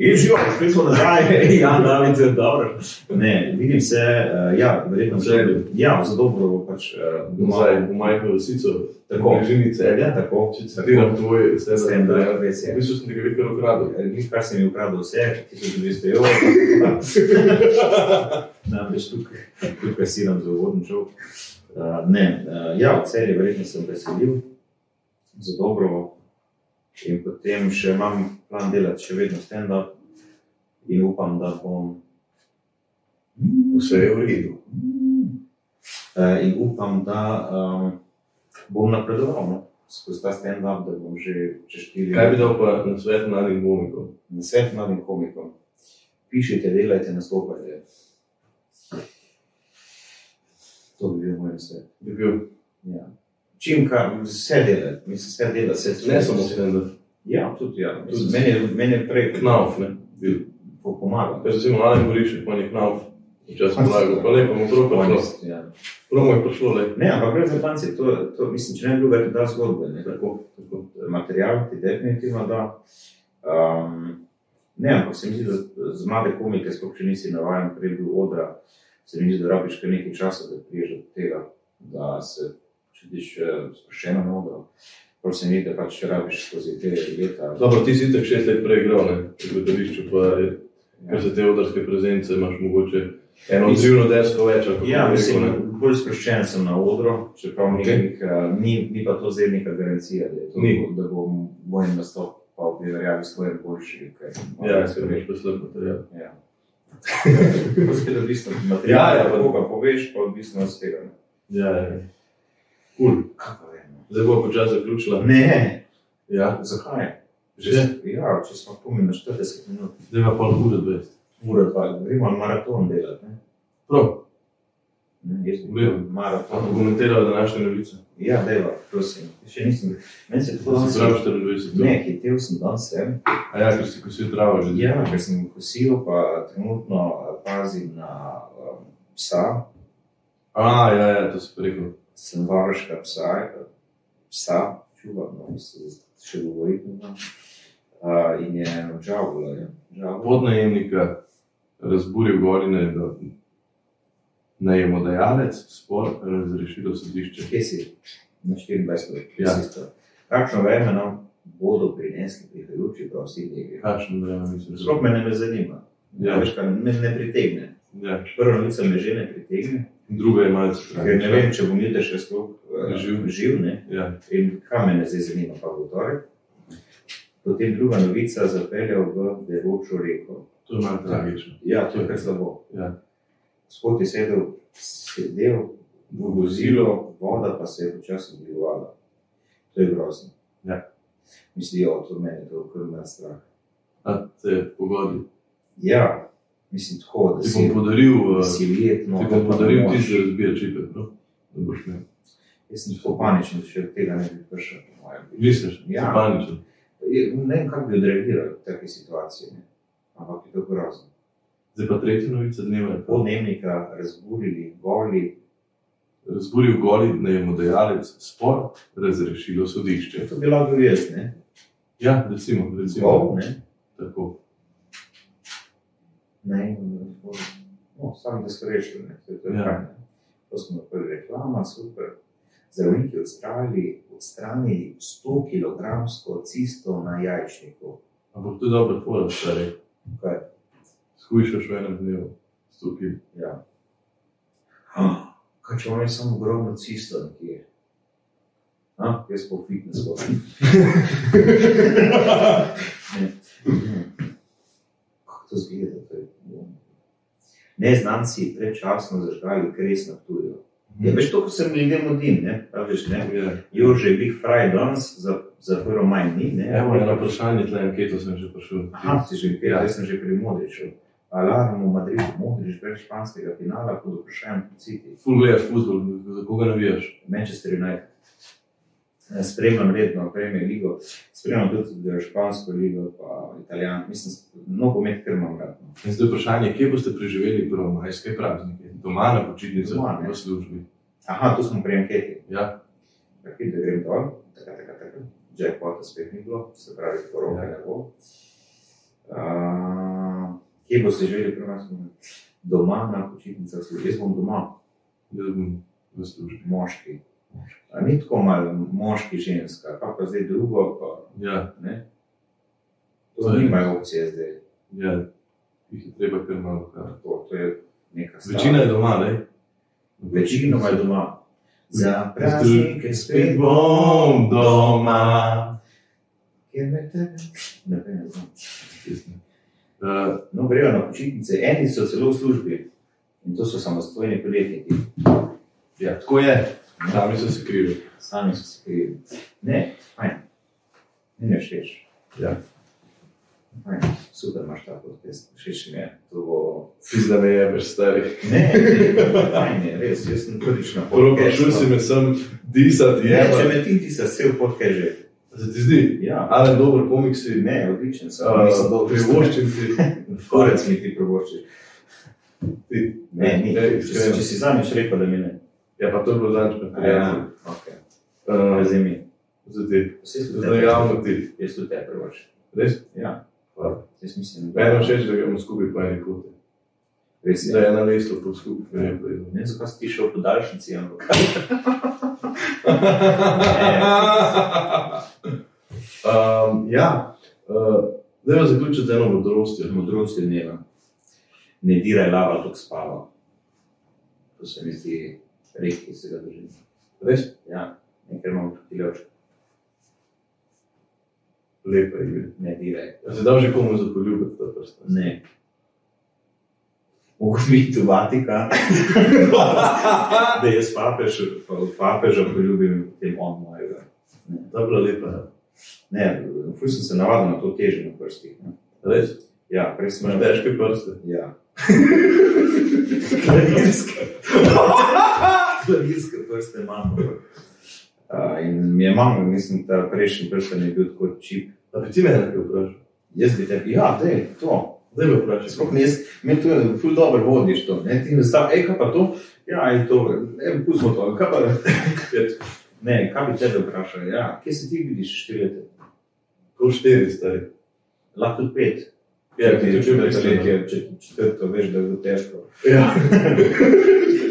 S6: In živo, spet smo nazaj, ja, da je vse dobro. Ne, vidim se, eh, ja, verjetno že. Ja, za dobro bo pač eh,
S3: Nazaj
S6: doma.
S3: v majhno lisico, v
S6: Tako,
S3: bližini celja.
S6: ja, tako.
S3: Če citiram tvoj, vse
S6: S tem, da
S3: je.
S6: je res
S3: V
S6: je.
S3: bistvu eh, sem nekaj veliko ukradel.
S6: Ni kar sem jim ukradel vse, 1200 evrov. Namreč tukaj, tukaj si nam za uvodni žog. Uh, ne, uh, ja, od serije verjetno sem veselil, za dobro. In potem še imam plan delati še vedno stand-up in upam, da bom.
S3: Vse je v redu.
S6: Uh, in upam, da um, bom napredoval no? skozi ta stand-up, da bom že čez 4
S3: Kaj bi dal pa na svet mladim komikov?
S6: na svet mladim komikom. Pišite, delajte, nastopajte. To bi bil moj svet.
S3: Bi bil.
S6: Ja. Čim kar vse delati, mislim, vse delati, vse
S3: Ne samo
S6: vse.
S3: stand-up.
S6: Ja, tudi ja. Mislim, Meni, je- meni je prej
S3: Knauf, ne? Bil.
S6: pomagal.
S3: Ker recimo Alen Gorišek, on je knauf Včasih blago, pa lepo, mu prav prišlo.
S6: Ja.
S3: Prav mu je prišlo lepo.
S6: Ne, ampak reprezentance, to, to mislim, če ne bi bilo, da ti da zgodbe. Ne?
S3: Tako, tako.
S6: Material ti definitivno da. Um, ne, ampak se mi zdi, da z- z mlade komike, sploh če nisi navaden, prej bil odra, se mi zdi, da rabiš kar nekaj časa, da priješ do tega, da se čutiš eh, sproščeno na odru. Prosim, da pač rabiš skozi te leta.
S3: Dobro, ti si tak šest let prej igral, ne, v gledališču, pa je,
S6: Ja.
S3: kar se te odarske prezence, imaš mogoče eno odzivno desko več, ali kako bi
S6: Ja,
S3: rekel,
S6: mislim,
S3: ne.
S6: bolj sproščen sem na odru, čeprav okay. nekih, eh, ni, ni pa to zdaj neka garancija, da, je to,
S3: Ni.
S6: da bo moj nastop pa v primerjavi s tvojim boljši. Kaj,
S3: Ja, ker imaš pa slab material.
S6: Ja. Spet odvisno od materiala,
S3: Ja,
S6: ja,
S3: ja.
S6: ja, kako ga poveš, pa odvisno od tega. ne.
S3: Ja, ja. Kul.
S6: Kaj pa vem. no?
S3: Zdaj bo počasi zaključila.
S6: Ne,
S3: Ja,
S6: zakaj?
S3: že zdaj
S6: Ja, če smo pomeni na 40 minut,
S3: ima pol ure dvajset.
S6: ura pa gremo na maraton delati. Ne?
S3: Prav,
S6: Ne, jaz bi
S3: Vem.
S6: bil
S3: pa
S6: maraton.
S3: komentirala današnje novice.
S6: Ja, dejva, prosim. Še nisem. Meni se je tako
S3: Zdravo,
S6: danes
S3: 24 ur.
S6: Ne, hitel sem danes sem.
S3: A ja, ker si kosil travo že.
S6: Ja, ker sem kosil, pa trenutno eh, pazim na um, psa,
S3: A, ja, ja, to si pa rekel.
S6: sem varuška psa, eh, psa čuvam, no, se še govoriti ne znam. Uh, in je žavula, je žavula.
S3: podnajemnika razburil gorine, da najemodajalec spor razrešilo sodišče.
S6: Kje si? Na 24 let.
S3: Ja.
S6: Kakšno vreme nam bodo prinesli prihajajoči pravsi dnevi?
S3: Kakšno vreme mislim?
S6: Sploh me ne zanima.
S3: Ja.
S6: Ja. Veš, kaj, me ne pritegne.
S3: Ja.
S6: Prva novica me že ne pritegne,
S3: Druga je malce
S6: ker ne
S3: tragična.
S6: vem, če bom jutri še sploh eh,
S3: Živ.
S6: živ ne?
S3: Ja.
S6: In kaj me zdaj zanima, pa bo torek. Potem druga novica zapelje v Devočo reko.
S3: To je malce tragično.
S6: Ja, to je kar slabo.
S3: Ja.
S6: Gospod je sedel, sedel v vozilo, voda pa se je počasi odbivala. To je grozno.
S3: Ja.
S6: Mislijo, to meni je to krvna strah.
S3: A se je pogodil.
S6: Ja, mislim tako, da
S3: Ti
S6: si,
S3: bom
S6: da
S3: podaril, eh,
S6: si no, ujetno.
S3: ti bom podaril tisti, ki razbija čipe. prav? Da boš imel.
S6: Jaz sem tako paničen, da še od tega ne bi prišel. po mojem.
S3: Misliš,
S6: Ja.
S3: si paničen.
S6: Je- Ne vem, kako bi odreagiral v taki situaciji, ne? ampak je to grozno.
S3: Zdaj pa tretja novica dneva je pod.
S6: podnebnika razburili, goli.
S3: Razburil goli najemodajalec spor razrešilo sodišče.
S6: Ja, To bi lahko bil jaz, ne?
S3: Ja, recimo, recimo.
S6: Gol, ne?
S3: Tako.
S6: ne? gol. No, sam da so rešili, ne? To je to,
S3: Ja.
S6: ja. to smo prvi reklama, super. Zdravniki odstranili, odstranili 100 kg cisto na jajčniku.
S3: Ampak to je dobra fora, stari.
S6: Kaj?
S3: Skušaš v enem dnevu, stopi.
S6: Ja. Ah, Kaj če imaš samo ogromno cisto nekje? Ha, jaz pa v fitness hodim. Ne. Kako to zgleda? to je bom. Neznanci predčasno zažgali kres na tujo. Ja, veš, to, ko sem ljudem odim, ne? A veš, ne?
S3: Ja.
S6: Jože, Big Fry danes za, za prvo maj ni, ne?
S3: Evo, eno vprašanje, tle anketo sem že prišel.
S6: Aha, si že videl, jaz sem že pri Modriču. Alarm v Madridu, Modrič brez španskega finala pod vprašanjem po City.
S3: Ful gledaš futbol, za koga navijaš?
S6: Manchester United. Eh, Spremljam redno Premier Ligo, spremljam tudi eh, Špansko ligo, pa Italijan, mislim, nogomet krmam rad. no.
S3: In zdaj vprašanje, kje boste preživeli prvomajske praznike? Doma na počitnicah,
S6: Doma, ne.
S3: v službi.
S6: Aha, tu smo pri anketi.
S3: Ja,
S6: Tako da grem dol, tako, tako, tako. Jackpota spet ni bilo, se pravi, poroka
S3: Ja.
S6: ne bo. Uh, kje boste živeli pri nas? Doma na počitnicah, slu- jaz bom doma,
S3: jaz bom Ja, v službi.
S6: moški. A ni tako malo moški, ženska, pa pa zdaj drugo, pa
S3: Ja,
S6: ne.
S3: To
S6: To
S3: je-
S6: nimajo opcije zdaj.
S3: ja. Jih je treba kar malo. kar.
S6: To, to je neka stvar.
S3: Večina je doma, ne?
S6: Večinoma je doma. Za praznike
S3: Zdaj,
S6: spet
S3: Spet
S6: bo.
S3: bom doma.
S6: Kjer me tebe? Ne vem, ne znam.
S3: Uh,
S6: No, grejo na počitnice, eni so celo v službi in to so samostojni podjetniki. Ja.
S3: ja, tako je. Sami so se krivi.
S6: Sami so se krivi. Ne, fajn. Ne, ne všeč.
S3: Ja.
S6: Fajn, super imaš ta podcast, všeč mi je. To bo...
S3: Pizda me je, veš, stari.
S6: Ne, ne, fajn je, res, jaz sem prvič na
S3: Prvo
S6: podcastu.
S3: prišel si me sem disati,
S6: Ne, če
S3: je.
S6: me ti, ti si vse v podcast že.
S3: Se ti zdi?
S6: Ja,
S3: Ale dober komik si,
S6: ne, odličen sem.
S3: Uh,
S6: Nisem dolg-
S3: privoščim si.
S6: Korec mi ti prvoščiš. Ne, ni.
S3: Ej,
S6: Če si, ja. če si zadnjič rekel, da mi ne.
S3: Ja, pa to je bilo zadnjič, pa prijatelj.
S6: Okay.
S3: Eh,
S6: Razumi.
S3: Za ti.
S6: Vsi so
S3: Zdaj javno ti.
S6: Jaz tudi te prevoš.
S3: Res?
S6: Ja.
S3: Hvala.
S6: Jaz mislim,
S3: Meni je všeč, da gremo skupaj po eni poti.
S6: Res ja.
S3: Da
S6: je.
S3: je na lestu po skupaj. Ne, pa je.
S6: Ne, zakaj si ti šel po daljšnici, ampak
S3: um, ja, uh, zdaj pa zaključiti z eno modrostjo.
S6: modrost je dneva. Ne diraj lava, dok spava. To se mi zdi rek, ki se ga držim.
S3: Res
S6: Ja, nekaj imamo tudi leoč.
S3: lepa je. Ja
S6: Ne diraj.
S3: Se da že komu zapoljubiti ta prst?
S6: Ne. Mogoče biti tu Vatika, da jaz papež, pa od papeža poljubim tem on mojega.
S3: Ta je bila lepa. ja.
S6: Ne, ful sem se navadil na to težo na prstih. Ne.
S3: Res?
S6: Ja, prej sem
S3: Imaš težke prste.
S6: Ja. Klavirske. Klavirske prste imam. Uh, in mi je mama, mislim, da prejšnji prsten je bil tako čip.
S3: A bi ti me nekaj vprašal?
S6: Jaz bi tebi, ja, da je to.
S3: Zdaj me vprašaj.
S6: Sploh ne, jaz- me tu je ful dobro vodiš to. Ne? Ti mi stav, ej, kaj pa to? Ja, je to, ne, pustimo to. Kaj pa, ne, kaj bi tebe vprašal? Ja, kje se ti vidiš štiri leta?
S3: Ko štiri stari.
S6: Lahko tudi pet.
S3: Ja, ti
S6: Če
S3: tudi
S6: ti
S3: več let ja. je.
S6: četrtletje, če ti četrto, veš, da je bilo težko.
S3: Ja,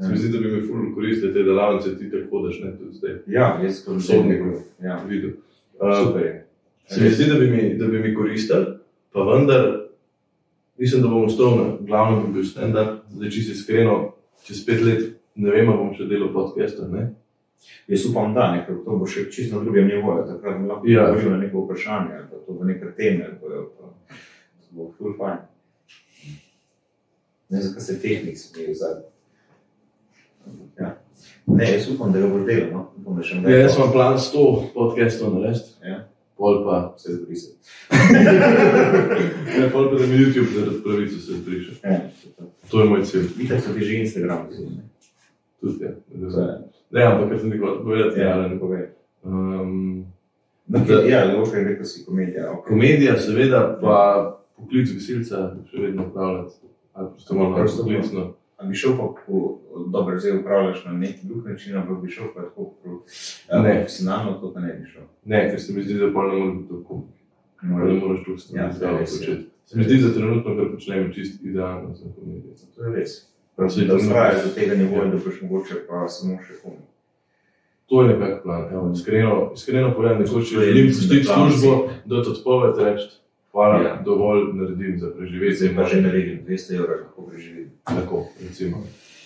S3: se mi zdi, da bi mi fulno koristile te delavnice, ti tako hodiš, ne tudi zdaj,
S6: Ja, jaz sem
S3: Sodnikov.
S6: Ja,
S3: videl. Uh,
S6: super je.
S3: se mi zdi, da bi mi, da bi mi koristili, pa vendar mislim, da bom ostal na glavnem, bi bil stand-up, zdaj čisto iskreno, čez pet let ne vem, ali bom še delal podcaste, ne?
S6: Jaz upam, da ne, ker to bo še čisto na drugem nivoju, takrat bom lahko
S3: Ja.
S6: odgovoril na neko vprašanje ali pa to bo neka tema, ali pa, pa to bo ful fajn. Ne vem, zakaj se tehnik smeji zadnji. Ja. Ne, jaz upam, da ga bo delal, no. upam, da še
S3: Ja, jaz imam plan 100 podcastov narediti,
S6: Ja.
S3: pol pa,
S6: se zbrisal.
S3: ne, Ja, pol pa da mi YouTube zaradi pravice se priše.
S6: Ja.
S3: To je moj cilj,
S6: Vidite, so ti že Instagram, zdaj, ne?
S3: tudi ja. Ne, vem. Ne, ampak kar sem ti hotel povedati, ja.
S6: ne
S3: Jaren.
S6: povej.
S3: Um,
S6: Nekaj, ja, Loška je rekel, si komedija. Okay.
S3: komedija, seveda, pa poklic gasilca še vedno upravljati, ali prostovoljno,
S6: Prostovoljno.
S3: poklicno.
S6: A bi šel pa, ko dobro zdaj upravljaš na neki drug način, ampak bi šel pa tako pro-
S3: Ne.
S6: eh, profesionalno, to pa ne bi šel.
S3: Ne, ker se mi zdi, da pa ne morem biti tako. Pa ne moreš drug stvari
S6: Ja,
S3: ja, zraven
S6: res je.
S3: početi. Se mi zdi, da trenutno, kar počnem, čist idealno za komedijo.
S6: To je res.
S3: Saj
S6: Da
S3: to ne
S6: vztrajaš
S3: moreš.
S6: do tega nivoja, da boš mogoče pa samo še komu.
S3: Ja. To je nekako plan. Evo, iskreno, iskreno povem, da hočeš,
S6: To je
S3: želim
S6: mislim, da
S3: pustiti
S6: plan
S3: službo, da ti odpoved reči, hvala,
S6: Ja.
S3: ja. dovolj naredim za preživetje.
S6: Zdaj pa že naredim 200 evrov, lahko preživim.
S3: Tako, recimo.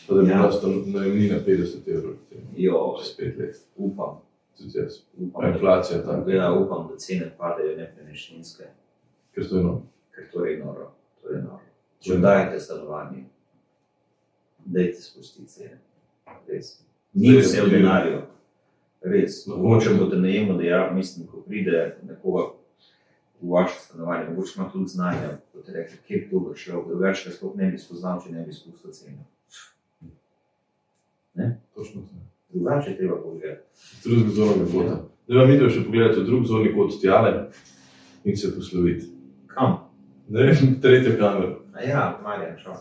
S3: To, da bi
S6: Ja.
S3: ja. prosto najemnina 50 evrov, recimo,
S6: Jo,
S3: čez pet let.
S6: upam.
S3: Tudi jaz. Pa
S6: upam da-
S3: inflacija tam,
S6: Ja, upam, da cene padejo nepremičninske,
S3: ker to je no.
S6: ker to je noro. To je noro.
S3: To
S6: Če
S3: je-
S6: dajete stanovanje, dajte spustiti cene. Res.
S3: Zdaj
S6: Ni
S3: je
S6: vse v
S3: problem.
S6: denarju. Res.
S3: No.
S6: Mogoče boste najemno dejali, mislim, ko pride nekoga v vaše stanovanje, mogoče ima tudi znanja, kot je rekel, kje bi to bo šlo, drugače ga sploh ne bi spoznal, če ne bi spustil cene.
S3: Točno to.
S6: Drugače je treba pogledati.
S3: Drug zorni kot. Zdaj vam idemo še pogledati drug zorni kot tjale in se posloviti.
S6: Kam?
S3: Ne vem, tretjo kamero.
S6: A ja, Marjan, šel.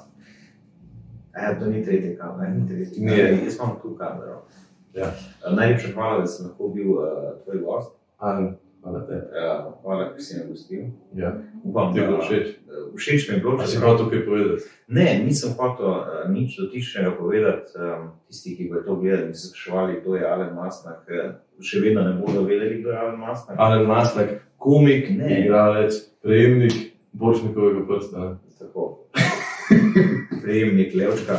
S6: A ja, to ni tretji kamer, ni tretji
S3: Ni.
S6: kamer. Jaz imam tu kamero.
S3: Ja.
S6: Eh, Najlepša hvala, da sem lahko bil uh, tvoj gost.
S3: A, hvala te.
S6: Ja, hvala, da si me gostil.
S3: Ja.
S6: Upam,
S3: Ti je bilo
S6: da-
S3: všeč?
S6: Všeč mi je bilo,
S3: A si
S6: čeprav-
S3: hotel kaj povedati?
S6: Ne, nisem hotel eh, nič dotičnega povedati. em, eh, Tisti, ki bodo to gledali in se spraševali, kdo je Alen Masnak, eh, še vedno ne bodo vedeli, kdo je Alen Masnak.
S3: Alen Maslak, komik,
S6: Ne.
S3: ne. igralec, prejemnik Boršnikovega prsta,
S6: Tako. Prejemnik Levčka,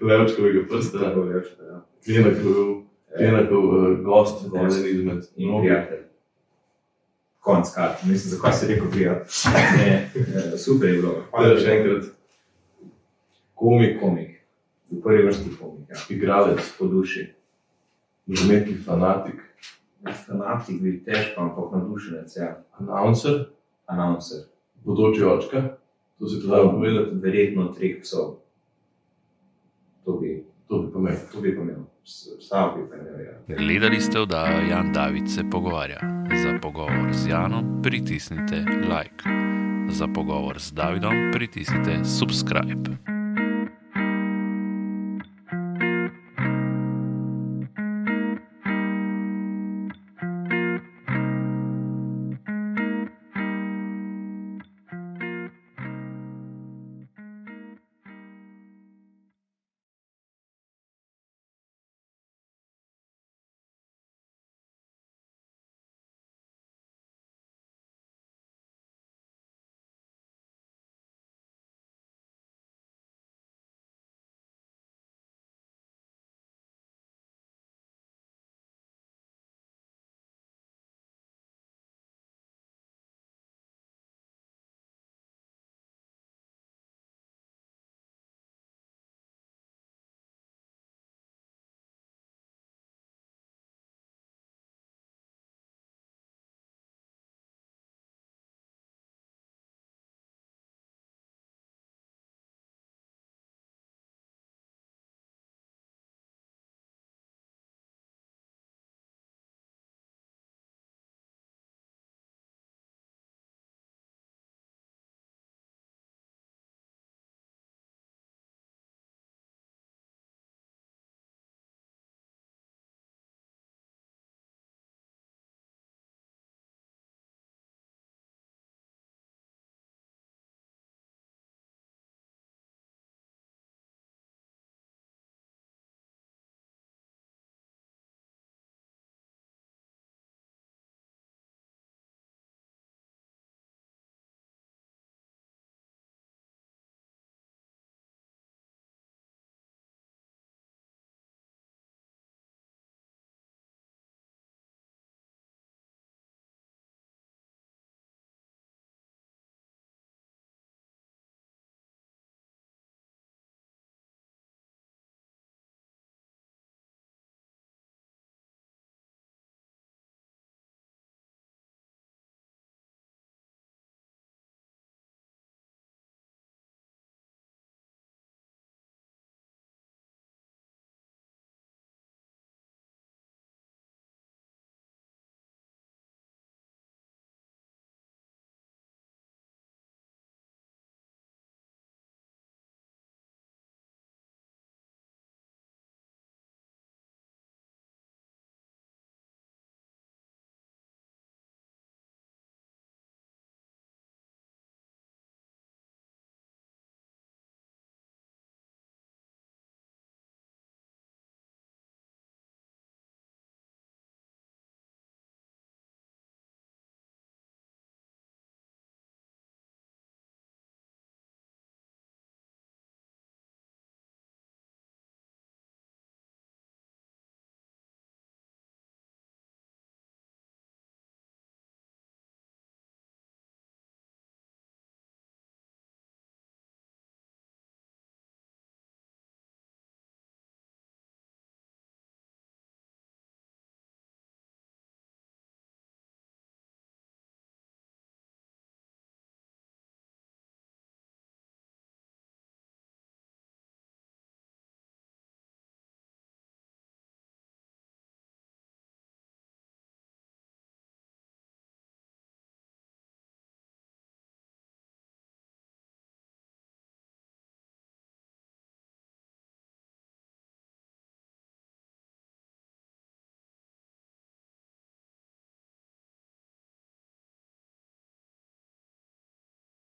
S3: Levčkovega prsta,
S6: tako Levčka. Ja.
S3: Klenakov,
S6: Eh,
S3: Klenakov uh, gost,
S6: Gost.
S3: eden izmed
S6: In
S3: mnogih.
S6: prijatelj. Konc kart, mislim, zakaj si rekel prijatelj. Ne, eh, super je bilo.
S3: Hvala še enkrat. Torej, komik,
S6: komik, v prvi vrsti komik, ja.
S3: igralec,
S6: po duši.
S3: nogometni fanatik,
S6: Fanatik bi težko, ampak navdušenec, ja.
S3: announcer,
S6: announcer.
S3: bodoči očka. To se ti da povedati,
S6: Verjetno treh psov. To bi,
S3: to bi pomenilo.
S6: to bi pomenil, sam bi pomenil. Ja.
S5: Gledali ste oddajo Jan David se pogovarja. Za pogovor z Janom pritisnite like, za pogovor z Davidom pritisnite subscribe.